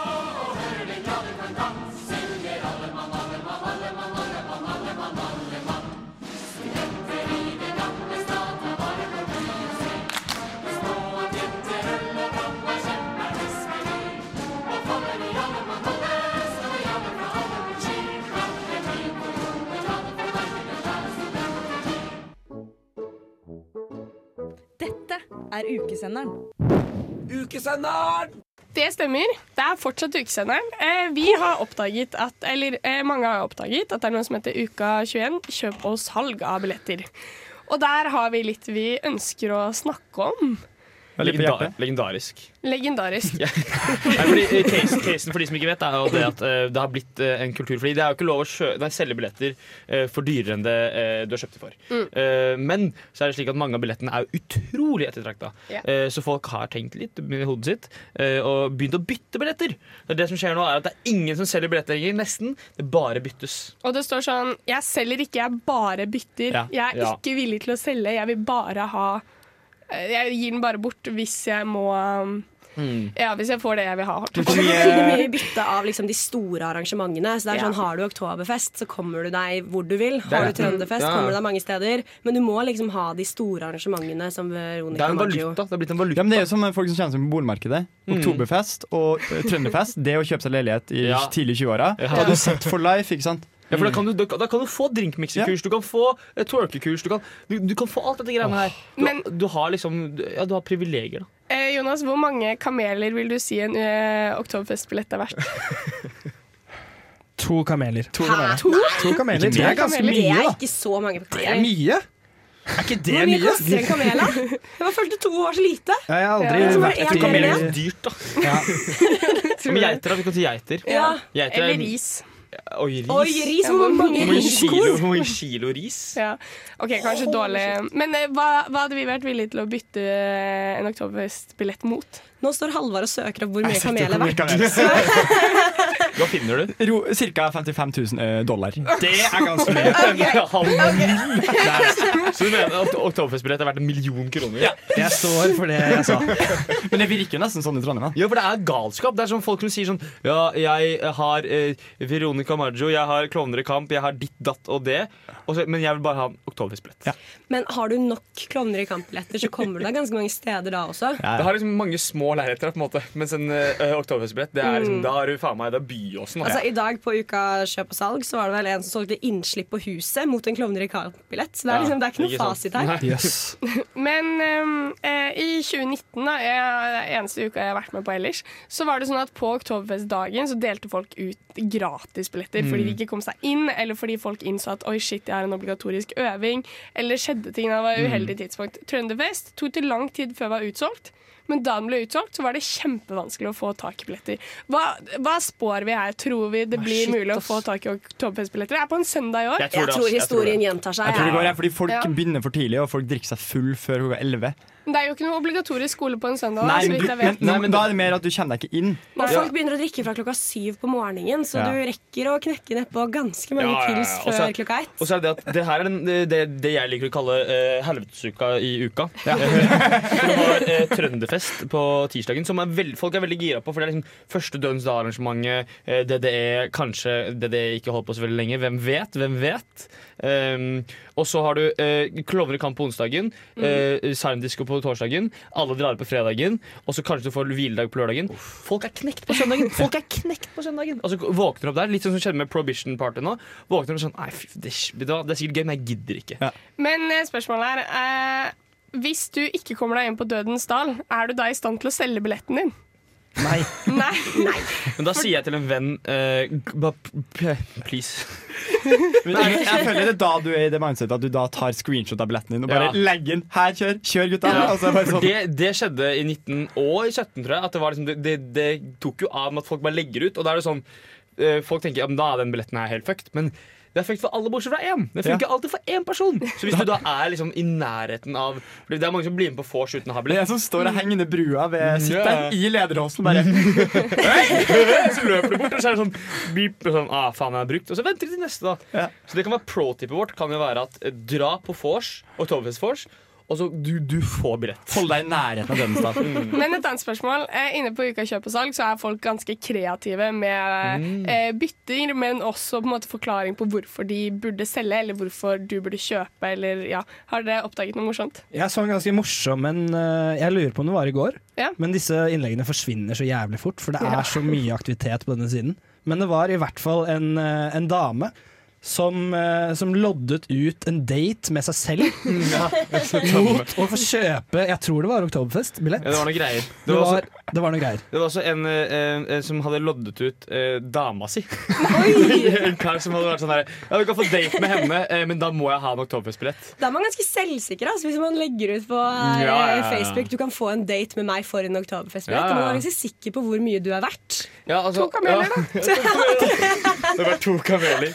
S16: og hører den glade kan-kan, synger alle mann, alle mann, alle mann, alle mann, alle mann, alle mann. Studenter i den gamle stad tar vare på byen sin. Det små og tjente øl og blanda kjemper hesteri. Og faller i alle mann alle, står i alle fra alle mot sky. Kaller byen for romer, la det få være, det er studenterby.
S25: Dette er ukesenderen.
S9: Ukesenderen!
S4: Det stemmer. Det er fortsatt ukesenderen. Eh, vi har oppdaget at, eller eh, mange har oppdaget at det er noe som heter Uka 21, kjøp og salg av billetter. Og der har vi litt vi ønsker å snakke om.
S6: Legenda legendarisk.
S4: Legendarisk.
S8: *laughs*
S4: *laughs*
S6: Nei, fordi, eh, case, casen for de som ikke vet, er jo det at eh, det har blitt eh, en kultur. Fordi det er jo ikke lov å kjø nei, selge billetter eh, for dyrere enn det eh, du har kjøpt det for.
S16: Mm.
S6: Eh, men så er det slik at mange av billettene er jo utrolig ettertrakta.
S16: Ja.
S6: Eh, så folk har tenkt litt med hodet sitt eh, og begynt å bytte billetter. Det, er det som skjer nå, er at det er ingen som selger billetter lenger. Nesten. Det bare byttes.
S4: Og det står sånn Jeg selger ikke, jeg bare bytter.
S6: Ja,
S4: Jeg er
S6: ja.
S4: ikke villig til å selge, jeg vil bare ha eh, Jeg gir den bare bort hvis jeg må um.
S6: Hmm.
S4: Ja, hvis jeg får det jeg vil ha.
S10: Og så blir det mye bytte av liksom, de store arrangementene. Så det er
S4: Ja.
S10: sånn, Har du oktoberfest, så kommer du deg hvor du vil.
S6: Det er
S10: Har du
S6: det.
S10: trønderfest,
S6: Ja.
S10: kommer du deg mange steder. Men du må liksom ha de store arrangementene som Veronica Maggio.
S6: Det har blitt en valuta. Mm.
S8: Ja, men det er jo som folk som kjenner seg på boligmarkedet. Oktoberfest og eh, Trønderfest, det å kjøpe seg leilighet i
S6: Ja.
S8: tidlig 20-åra. Da har du sett for life, ikke sant? Mm.
S6: Ja, for da kan du, da, da kan du få drinkmiksekurs, du kan få eh, twerkekurs, du kan, du, du kan få alt dette greiene her. Du, du har liksom du- Ja, du har privilegier, da.
S4: Eh, Jonas, hvor mange kameler vil du si en eh, oktoberfestbillett er
S10: *laughs*
S4: verdt?
S5: To kameler. To
S4: kameler. To?
S5: kameler. Det er ganske
S10: Men
S5: mye,
S10: Det er
S5: da.
S10: ikke så mange kameler.
S5: Det er mye. Er ikke det
S10: Hvor mye
S5: mye?
S10: koster en
S5: *laughs*
S10: kamel, da? Jeg følte to var så lite.
S5: Ja, jeg har aldri
S10: Så bare
S5: vært
S10: en
S5: etter
S10: kamel,
S5: kamel.
S10: ja.
S6: Dyrt, da. Men geiter, da. Vi kan si geiter.
S10: Ja.
S6: Geiter er-
S4: Eller ris.
S6: Oi, ris.
S4: Oi, ris, hvor mange
S6: Hvor mange
S4: riskorn?
S6: kilo, hvor mange kilo ris?
S4: Ja. OK, kanskje dårlig. Men eh, hva, hva hadde vi vært villige til å bytte eh, en oktoberfestbillett mot?
S10: Nå står Halvard og søker opp hvor
S8: Jeg
S10: mye
S8: setter
S10: kamel er
S8: hvor mye
S10: verdt.
S8: kamel er verdt.
S6: *laughs* Hva finner du?
S8: Ro, cirka 55 000 eh, dollar.
S6: Det er ganske
S4: *laughs*
S6: mye. Halv ni. Nei. Så du mener at oktoberfestbillett er verdt en million kroner?
S5: Jeg står for det jeg sa.
S8: Men det virker jo nesten sånn i Trondheim. da
S6: Ja, for det er galskap. Det er sånn Folk som sier sånn Ja, jeg har eh, Veronica Maggio, jeg har Klovner i kamp, jeg har ditt, datt og det. Og så, men jeg vil bare ha en oktoberfestbillett.
S10: Men har du nok klovner i kampbilletter, så kommer du deg ganske mange steder da også.
S6: Det har liksom mange små lerreter, på en måte. Mens en uh, oktoberfestbillett, det er liksom,
S10: Mm.
S6: da er du faen meg Det er Byåsen.
S10: Altså, I dag på Uka kjøp og salg så var det vel en som solgte innslipp på huset mot en klovner i kamp-billett. Så det er,
S6: Ja,
S10: liksom, det er ikke noe
S6: ikke sant.
S10: fasit her.
S6: Nei. Yes.
S4: *laughs* Men ehm, eh, i 2019, da, jeg, det er eneste uka jeg har vært med på ellers, så var det sånn at på Oktoberfestdagen så delte folk ut gratisbilletter fordi de
S10: Mm.
S4: ikke kom seg inn, eller fordi folk innså at oi, shit, jeg har en obligatorisk øving, eller skjedde ting da det var
S10: Mm.
S4: uheldig tidspunkt. Trønderfest tok til lang tid før det var utsolgt. Men da den ble utsolgt, så var det kjempevanskelig å få tak i billetter. Hva, hva spår vi her? Tror vi det
S10: Ah,
S4: blir
S10: shit,
S4: mulig å få tak i oktoberfestbilletter? Det er på en søndag i år.
S8: Jeg tror Jeg det, tror ass. Jeg tror historien det.
S10: gjentar
S8: Jeg tror det går, jeg, fordi folk
S4: Ja.
S8: begynner for tidlig, og folk drikker seg full før klokka 11.
S4: Men Det er jo ikke noe obligatorisk skole på en søndag.
S8: Nei,
S4: så
S8: men,
S4: vidt
S8: du,
S4: jeg
S8: men,
S4: vet.
S8: men, da er det mer at du kommer deg ikke inn.
S10: Og
S4: *laughs*
S10: folk begynner å drikke fra klokka syv på morgenen, så
S6: Ja.
S10: du rekker å knekke nedpå ganske mange
S6: Ja, ja, ja.
S10: pils
S6: Og så-
S10: før klokka ett.
S6: Og så er det det at det her er den, det, det jeg liker å kalle eh, helvetesuka i uka. *laughs* For det var eh, Trønderfest på tirsdagen, som er veld, folk er veldig gira på. For det er liksom første døgns da-arrangementet. Eh, DDE, kanskje DDE ikke holdt på så veldig lenge. Hvem vet? Hvem vet? Ehm, og så har du eh, Klovner i kamp på onsdagen, eh, silentdisco på torsdagen. Alle drar på fredagen, og så kanskje du får hviledag på lørdagen. Folk er knekt på søndagen! Folk er knekt på søndagen Og så våkner du opp der, litt sånn som skjedde med Prohibition Party nå. Våkner du sånn Nei, fy, det, er- det, var- det er sikkert gøy, men jeg gidder ikke.
S4: Men eh, spørsmålet er eh, Hvis du ikke kommer deg inn på Dødens dal, er du da i stand til å selge billetten
S8: *laughs*
S4: din? Nei. Nei.
S6: Men da sier jeg til en venn eh, g- bare p- p- Please.
S8: Men jeg, jeg føler det er da du er i det mindsetet at du da tar screenshot av billetten din og bare
S6: Ja.
S8: legger den. Her, kjør! Kjør, gutta!
S6: Ja,
S8: Og så er det bare
S6: for
S8: sånn.
S6: det, det skjedde i 19 og i 17, tror jeg. At det, var liksom, det, det, det tok jo av med at folk bare legger ut. Og da er det sånn eh, Folk tenker ja, men da er den billetten her helt fucked. Men Det har effekt for alle bortsett fra én. Det funker alltid for én person. Så
S8: *laughs*
S6: hvis du da er liksom i nærheten av fordi Det er mange som blir med på vors uten å ha
S8: Det er
S6: billett.
S8: jeg som står og henger under brua ved
S6: Mm, Ja.
S8: sitteren i
S6: *laughs*
S8: lederåsen bare
S6: Så løper du bort, og så er det sånn beep, og sånn, ah, faen, jeg har brukt. Og så venter de til neste, da. Så det kan være pro-tipet vårt kan jo være at eh, dra på vors, Oktoberfest-vors, og så du, du får billett. Mm.
S8: Hold deg i nærheten av dødsdagen.
S4: Men et annet spørsmål. Eh, Inne på Uka kjøp og salg så er folk ganske kreative med
S6: Mm.
S4: eh, bytting, men også på en måte forklaring på hvorfor de burde selge, eller hvorfor du burde kjøpe, eller ja. Har dere oppdaget noe morsomt?
S5: Jeg så en ganske morsom en eh, Jeg lurer på om det var i går.
S4: Ja.
S5: Men disse innleggene forsvinner så jævlig fort, for det er
S4: Ja.
S5: så mye aktivitet på denne siden. Men det var i hvert fall en, eh, en dame som, eh, som loddet ut en date med seg selv mot å få kjøpe Jeg tror det var Oktoberfest-billett.
S6: Ja, det var noe greier. Det
S5: Det
S6: var
S5: var, det var noe greier.
S6: Det var også en eh, eh, som hadde loddet ut eh, dama si. *laughs* en kar som hadde vært sånn her Ja, du kan få date med henne, eh, men da må jeg ha en oktoberfest-billett.
S10: Da er man ganske selvsikker altså, hvis man legger ut på eh,
S6: Ja, ja, ja.
S10: Facebook du kan få en date med meg for en oktoberfestbillett.
S6: Ja, ja,
S10: Da
S6: ja.
S10: må man være ganske sikker på hvor mye du er verdt.
S6: Ja, altså,
S10: To kameler,
S6: ja.
S10: da.
S6: *laughs* Det var to kameler.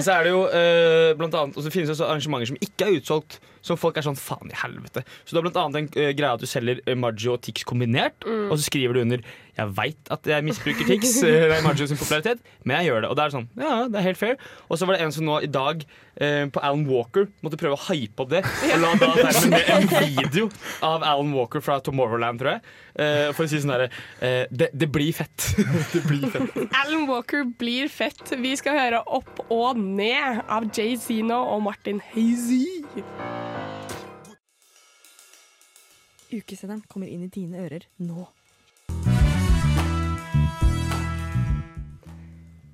S6: Og så er det jo eh, blant annet Og så finnes det også arrangementer som ikke er utsolgt, som folk er sånn faen i helvete. Så det er blant annet en eh, greie at du selger eh, Maggio og Tix kombinert,
S10: Mm.
S6: og så skriver du under 'Jeg veit at jeg misbruker Tix, eh, det er Maggio sin popularitet, men jeg gjør det'. Og det er det sånn, ja, ja, det er helt fair. Og så var det en som nå i dag eh, på Alan Walker måtte prøve å hype opp det, og la da dermed med en video av Alan Walker fra Tomorrowland, tror jeg, eh, for å si sånn herre det, det blir fett. *laughs* det blir fett.
S4: Alan Walker blir fett. Vi skal høre Opp og ned av Jay Zeno og Martin Hazy.
S25: Ukesenderen kommer inn i dine ører nå.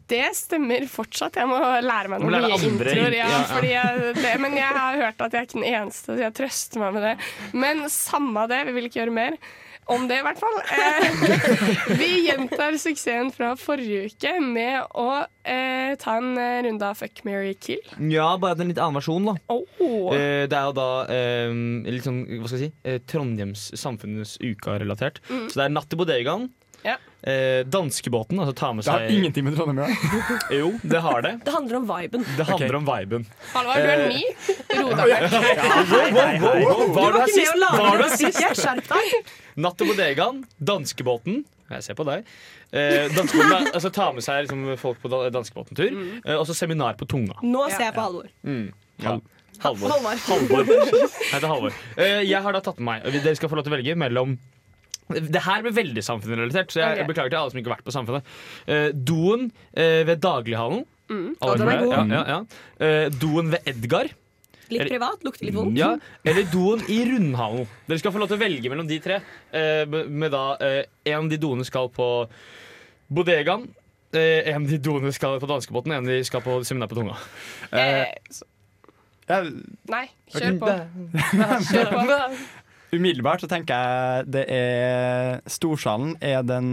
S4: Det stemmer fortsatt. Jeg må lære meg
S6: Du må
S4: noen nye
S6: lære andre
S4: introer. Ja,
S6: ja, ja.
S4: Fordi jeg, det, men jeg har hørt at jeg er ikke den eneste, så jeg trøster meg med det. Men samme det, vi vil ikke gjøre mer. Om det, i hvert fall. Eh, *laughs* vi gjentar suksessen fra forrige uke med å eh, ta en eh, runde av Fuck, marry, kill.
S6: Ja, bare en litt annen versjon, da.
S4: Oh.
S6: Eh, det er jo da eh, litt sånn, hva skal jeg si, eh, Trondheims Samfunnets uka-relatert.
S4: Mm.
S6: Så det er Natt i bodegaen.
S4: Ja.
S6: Eh, danskebåten, altså ta med
S8: Det har
S6: seg
S8: ingenting med Trondheim å gjøre.
S6: Jo, det har det.
S10: Det handler om viben.
S6: Det handler om viben.
S4: Halvard, du er
S6: Eh,
S4: ny. Ro
S6: *laughs*
S4: deg vekk.
S6: Var du
S10: ikke
S6: her
S10: med
S6: sist?
S10: å lage
S6: Var du her
S10: den
S6: sist?
S10: sikkert, skjerp deg.
S6: Natt og bodegaen, danskebåten. Jeg ser på deg. Eh, danskebåten er, altså, ta med seg liksom, folk på da- danskebåten-tur.
S4: Mm.
S6: Eh, og så seminar på tunga.
S10: Nå ser jeg på Halvor.
S6: Mm. Ja. Halvor.
S10: Halvor.
S6: Halvor. Jeg heter Halvor. Eh, jeg har da tatt med meg Dere skal få lov til å velge mellom det her blir veldig samfunnsrelatert, så jeg
S10: Ok.
S6: beklager til alle som ikke har vært på Samfunnet. Eh, doen eh, ved daglighallen.
S10: Mm.
S6: Alle
S10: Ja, den er
S6: med?
S10: god.
S6: Ja, ja, ja. Eh, doen ved Edgar.
S10: Litt
S6: Eller-
S10: privat, lukter litt vondt.
S6: Ja, eller doen i Rundhallen. Dere skal få lov til å velge mellom de tre. Eh, med da eh, En av de doene skal på bodegaen. Eh, en av de doene skal på danskebåten, en av de skal på seminar på tunga.
S4: Eh, så- Nei, kjør på. Kjør på.
S8: Umiddelbart så tenker jeg det er Storsalen er den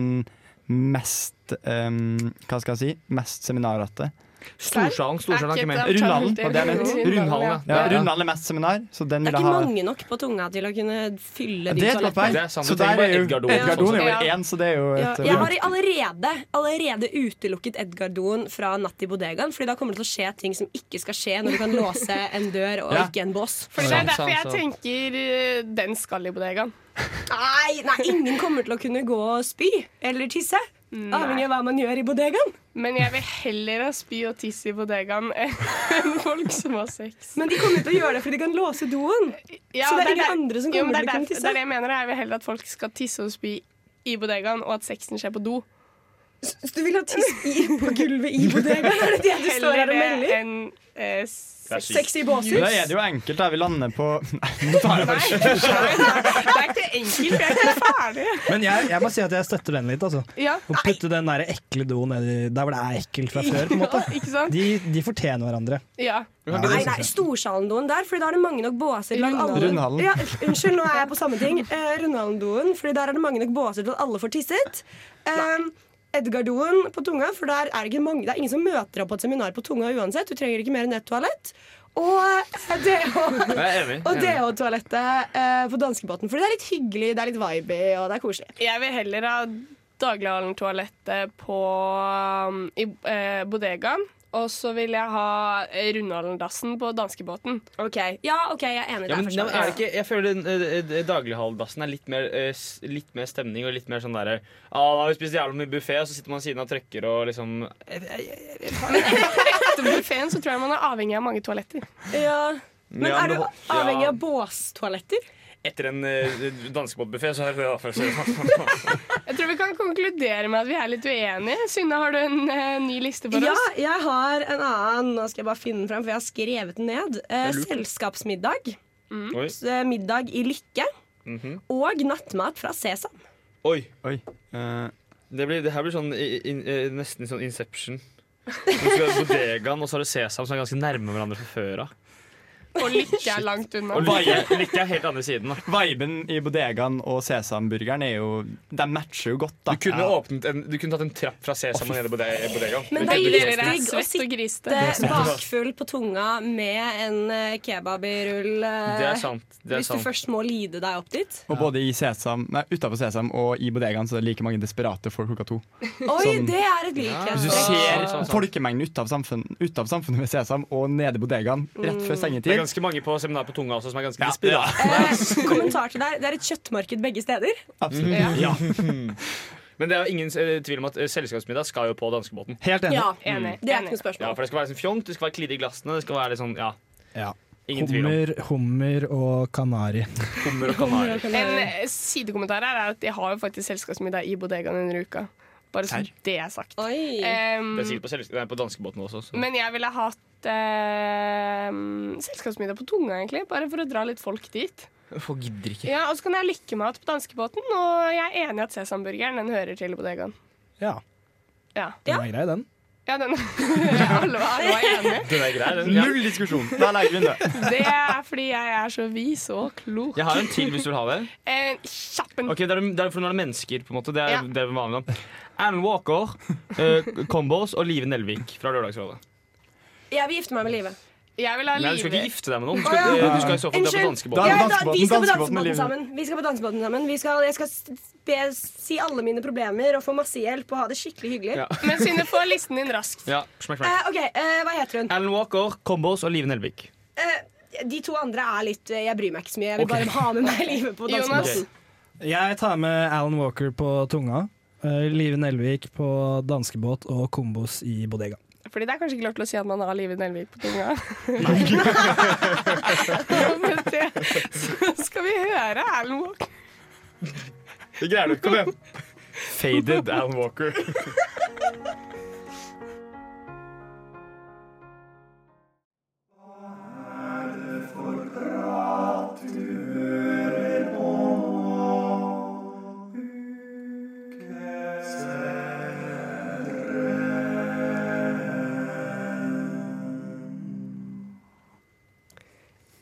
S8: mest ehm, Hva skal jeg si? Mest seminarrette.
S6: Storsalen, Storsalen er ikke med.
S8: Rundhallen, var det jeg mente.
S6: Rundhallen, ja.
S8: Ja, Rundhallen er mest seminar, så den
S10: Det er
S8: vil jeg
S10: ikke
S8: ha.
S10: mange nok på tunga til å kunne fylle
S8: Ja,
S10: de
S8: Det er et godt poeng.
S10: toalettene.
S8: Så der er jo
S6: Edgar Doen.
S8: Edgardoen er jo
S10: Ja.
S8: bare én, så Sånn det er jo
S10: sånn. Ja,
S8: et eh,
S10: jeg har allerede, allerede utelukket Edgar-doen fra Natt i bodegaen, Fordi da kommer det til å skje ting som ikke skal skje når du kan låse en dør og
S8: *laughs* Ja.
S10: ikke en bås.
S4: For det er derfor jeg tenker eh, den skal i bodegaen.
S10: Nei, nei, ingen kommer til å kunne gå og spy eller tisse. Avhengig av hva man gjør i bodegaen.
S4: Men jeg vil heller ha spy og tiss i bodegaen enn *laughs* folk som har sex.
S10: Men de kommer til å gjøre det fordi de kan låse doen. så det er ingen andre som
S4: jo,
S10: kommer til å
S4: men det er
S10: kunne
S4: derfor-
S10: tisse.
S4: Det er det jeg mener. Jeg vil heller at folk skal tisse og spy i bodegaen, og at sexen skjer på do.
S10: Så du vil ha tiss i, på gulvet i bodegaen? *laughs* Er det det du står her og
S4: Heller
S10: melder?
S4: det enn eh, sex.
S10: Sex i båshus.
S8: Da er det jo enkelt, da. Vi lander på Nei, nå tar jeg bare
S4: *laughs* Det er ikke enkelt. Jeg er ikke ferdig.
S5: Men jeg, jeg må si at jeg støtter den litt. altså
S4: Ja.
S5: Å putte den der ekle doen ned i der hvor det er ekkelt fra før. på en måte
S4: *laughs* Ja, ikke sant?
S5: De, de fortjener hverandre.
S4: Ja.
S10: Nei, nei, Storsalendoen der, Fordi da er det mange nok båser til at alle
S5: Rundhallen.
S10: Ja, unnskyld, nå er jeg på samme ting. Eh, Rundhallendoen, fordi der er det mange nok båser til at alle får tisset. Eh, Edgardoen på tunga, for der er det, ikke mange, det er ingen som møter opp på et seminar på tunga uansett. Du trenger ikke mer enn ett toalett. Og eh, DH
S6: Jeg er enig.
S10: og
S6: Jeg er enig.
S10: DH-toalettet eh, på danskebåten. Fordi det er litt hyggelig, det er litt vibey, og det er koselig.
S4: Jeg vil heller ha daglighallentoalettet på um, i eh, bodegaen Og så vil jeg ha Rundaldassen på danskebåten.
S10: Ok, Ja, OK, jeg er enig.
S6: Ja, men,
S10: der,
S6: ja, men er det ikke, jeg føler den, eh, eh, daglighaldassen er litt mer, eh, s- litt mer stemning og litt mer sånn derre Ja, da har vi spist jævla mye buffé, og så sitter man ved siden av trøkker og liksom
S4: *laughs* Etter buffeen så tror jeg man er avhengig av mange toaletter.
S10: Ja.
S6: Men Ja, er men du hå- ja. avhengig av
S10: båstoaletter?
S6: Etter en uh, danskebåtbuffé, så er det *laughs*
S4: Jeg tror vi kan konkludere med at vi er litt uenige. Synne, har du en eh, ny liste for
S10: Ja,
S4: oss?
S10: jeg har en annen. Nå skal jeg bare finne den fram, for jeg har skrevet den ned. Eh,
S4: Det er lurt.
S10: selskapsmiddag.
S6: Oi.
S10: S- eh, Middag i Lykke.
S6: Mhm.
S10: Og nattmat fra Sesam.
S6: Oi. det, blir, det her blir sånn i- i- eh, nesten sånn Inception. Du skal ha bodegaen, og så har du sesam, som er ganske nærme hverandre fra før av.
S4: Og lykke er langt unna.
S6: Og lykke, lykke er helt andre siden. da
S8: Viben i bodegaen og sesamburgeren er jo De matcher jo godt, da.
S6: Du kunne, åpnet en, du kunne tatt en trapp fra sesam og ned i bode- bodegaen.
S10: Men det
S6: Det
S10: er
S6: blir-
S10: litt digg å sitte
S6: Det er
S10: bakfull på tunga med en eh, kebab i rull. eh,
S8: Det er sant, det er
S10: hvis
S8: sant.
S10: du først må lide deg opp dit.
S8: Og både i sesam, nei, utenfor sesam og i bodegaen så er det like mange desperate folk klokka to.
S10: Oi, det er et
S8: Hvis du
S10: likhetstrekk.
S6: sånn-
S8: ser sånn, folkemengden utenfor samfunnet, utenfor samfunnet ved sesam og nede i bodegaen rett
S10: Mm.
S8: før
S6: Det er
S8: sengetid
S6: ganske mange på seminar på tunga også som er ganske
S10: Eh, kommentar til deg. Det er et kjøttmarked begge steder.
S6: Absolutt.
S8: *laughs*
S10: Ja.
S6: *laughs* *laughs* Men det er jo ingen eh, tvil om at eh, selskapsmiddag skal jo på danskebåten.
S8: Helt
S10: enig. Ja, enig. Det er ikke noe spørsmål.
S6: Ja, for det skal være sånn fjont, det skal være klirr i glassene, det skal være litt sånn, ja. Ingen tvil om.
S5: Hummer, hummer og kanari.
S6: Hummer og
S4: En eh, sidekommentar her er at jeg har jo faktisk selskapsmiddag i bodegaen under uka. Bare så
S6: Serr?
S4: det er sagt.
S6: Det
S4: Em,
S6: er sikkert på, selsk- nei, på danskebåten også. Så.
S4: men jeg ville hatt em, selskapsmiddag på tunga, egentlig. Bare for å dra litt folk dit.
S6: Hvorfor gidder ikke?
S4: Ja, Og så kan jeg lykke meg ut på danskebåten, og jeg er enig i at sesamburgeren den hører til i bodegaen.
S5: Ja.
S4: Ja.
S5: Den er grei, den.
S4: Ja, den *laughs* Alle var, alle var enige.
S6: Den er grei, den.
S8: Null diskusjon. Der legger vi den død.
S4: Det er fordi jeg er så vis og klok.
S6: Jeg har en til hvis du vil ha det.
S4: Eh, kjapp en.
S6: Ok, det er, det er for når det er mennesker, på en måte. Det er,
S4: Ja.
S6: det er vanlig. da. Alan Walker, eh, Combos og Live Nelvik fra Lørdagsrådet.
S10: Jeg vil gifte meg med Live.
S4: Jeg vil ha
S6: Nei, du skal ikke gifte deg med noen.
S10: Å,
S6: Du skal,
S10: ja.
S6: du skal i så fall dra på
S10: Unnskyld.
S6: danskebåten.
S10: Ja, da, vi skal på dansebåten sammen. Vi skal på dansebåten sammen. Vi skal, jeg skal s- be, si alle mine problemer og få masse hjelp og ha det skikkelig hyggelig. *laughs*
S6: Ja.
S4: Men Synne, få listen din raskt.
S6: Ja, smekk, smekk.
S10: Eh, ok, eh, Hva heter hun?
S6: Alan Walker, Combos og Live Nelvik.
S10: Eh, de to andre er litt eh, Jeg bryr meg ikke så mye. Jeg vil
S5: Ok.
S10: bare ha med meg livet
S4: *laughs*
S10: på dansebåten.
S5: Jeg tar med Alan Walker på tunga, eh, Live Nelvik på danskebåt og Kombos i bodega.
S4: Fordi det er kanskje ikke lov til å si at man har livet i Nelvik på tunga.
S10: *laughs*
S4: Men *laughs* det, så skal vi høre Alan Walker.
S6: Det greier du ikke, kom igjen. Faded Alan *laughs* Walker.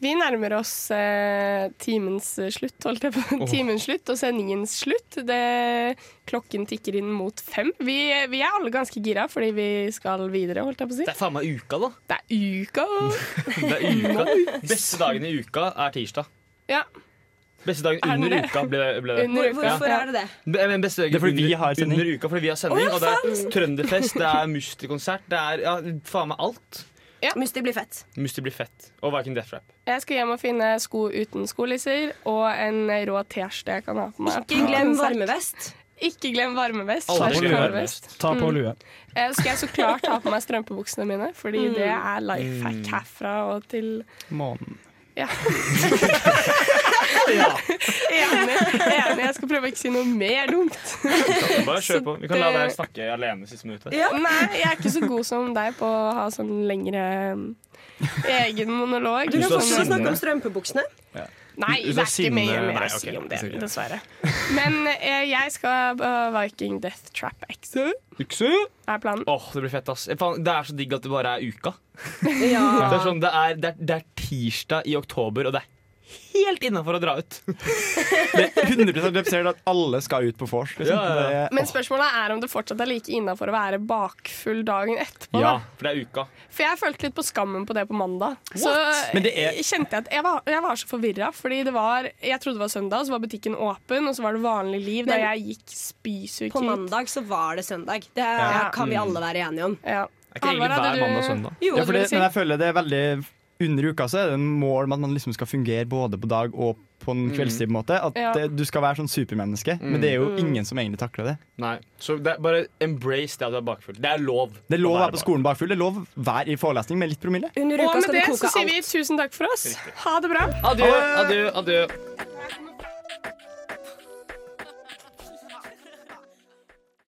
S4: Vi nærmer oss eh, timens eh, slutt, holdt jeg på.
S6: Åh.
S4: Timens slutt og sendingens slutt. Det, klokken tikker inn mot fem. Vi, vi er alle ganske gira fordi vi skal videre, holdt jeg på å si.
S6: Det er faen meg uka, da.
S4: Det er uka.
S6: Det
S10: *laughs*
S6: er uka. Beste dagen i uka er tirsdag.
S4: Ja.
S6: Beste dagen
S4: Er den
S6: under
S4: det?
S6: uka ble, ble det.
S4: Under uka. Hvorfor er det det?
S6: Be- men Beste dagen
S8: Det er fordi vi
S6: under-
S8: har sending.
S6: Under uka, fordi vi har sending.
S10: Å, ja,
S6: og det er
S10: faen.
S6: trønderfest, det er musterkonsert, det er ja, faen meg alt.
S10: Musti blir fett.
S6: Muster blir fett. Og Viking Death Rap.
S4: Jeg skal hjem og finne sko uten skolisser og en rå T-skjorte jeg kan ha på meg.
S10: Ikke glem varmevest.
S4: Ikke glem varmevest.
S5: Ta
S4: slash
S5: på lue.
S4: kaldvest.
S5: Ta på
S4: Mm.
S5: lue.
S4: Eh, Skal jeg så klart ha på meg strømpebuksene mine, fordi
S10: Mm.
S4: det er life hack herfra og til
S8: Månen.
S4: Ja. *laughs* Enig. enig. Jeg skal prøve å ikke si noe mer dumt.
S6: Bare kjør på. Vi kan la
S4: det-
S6: deg snakke alene siste minuttet.
S4: Nei, jeg er ikke så god som deg på å ha sånn lengre eh, egen monolog.
S10: Du kan
S4: Sånn-
S10: fortsette å snakke om strømpebuksene.
S4: Nei,
S10: Ut- ut
S4: det
S10: av
S4: er ikke mer,
S10: sinne-
S4: mer
S10: nei,
S4: å si
S10: ok,
S4: om det,
S10: sorry.
S4: dessverre. Men eh, jeg skal på Viking Death Trap X.
S6: Ukse?
S4: Er planen.
S6: Åh, det blir fett, ass. Eh, Faen, Det er så digg at det bare er uka.
S4: Ja.
S6: *laughs* Det, er sånn, det, er, det, er, det er tirsdag i oktober, og det er helt innafor å dra
S8: *laughs*
S6: ut.
S8: 100 representerer at alle skal ut på vors. Liksom.
S6: Ja, ja, ja.
S8: Det-
S4: Men spørsmålet er om det fortsatt er like innafor å være bakfull dagen etterpå. Da.
S6: Ja, Ah, for det er uka.
S4: For jeg følte litt på skammen på det på mandag. Så
S6: Men det er-
S4: kjente jeg at jeg var, jeg var så forvirra, fordi det var Jeg trodde det var søndag, så var butikken åpen, og så var det vanlig liv da
S10: Men-
S4: jeg gikk spysyk
S10: På
S4: hit.
S10: mandag så var det søndag. Det
S4: Ja.
S10: kan vi
S4: Mm.
S10: alle være enige om.
S4: Ja.
S6: Er ikke egentlig hver mandag og søndag?
S8: ja, for det, men jeg føler det er veldig under uka så er det en mål med at man liksom skal fungere både på dag og på en
S6: Mm.
S8: kveldstid. på en måte At
S6: Ja.
S8: eh, du skal være sånn supermenneske,
S6: Mm.
S8: men det er jo
S6: Mm.
S8: ingen som egentlig takler det.
S6: Nei. Så det er bare embrace det at du er bakfull. Det er lov.
S8: Det er lov å være på skolen bakfull, det er lov å være i forelesning med litt promille.
S4: Og med det så sier vi tusen takk for oss. Ha det bra.
S6: Adjø, adjø, adjø.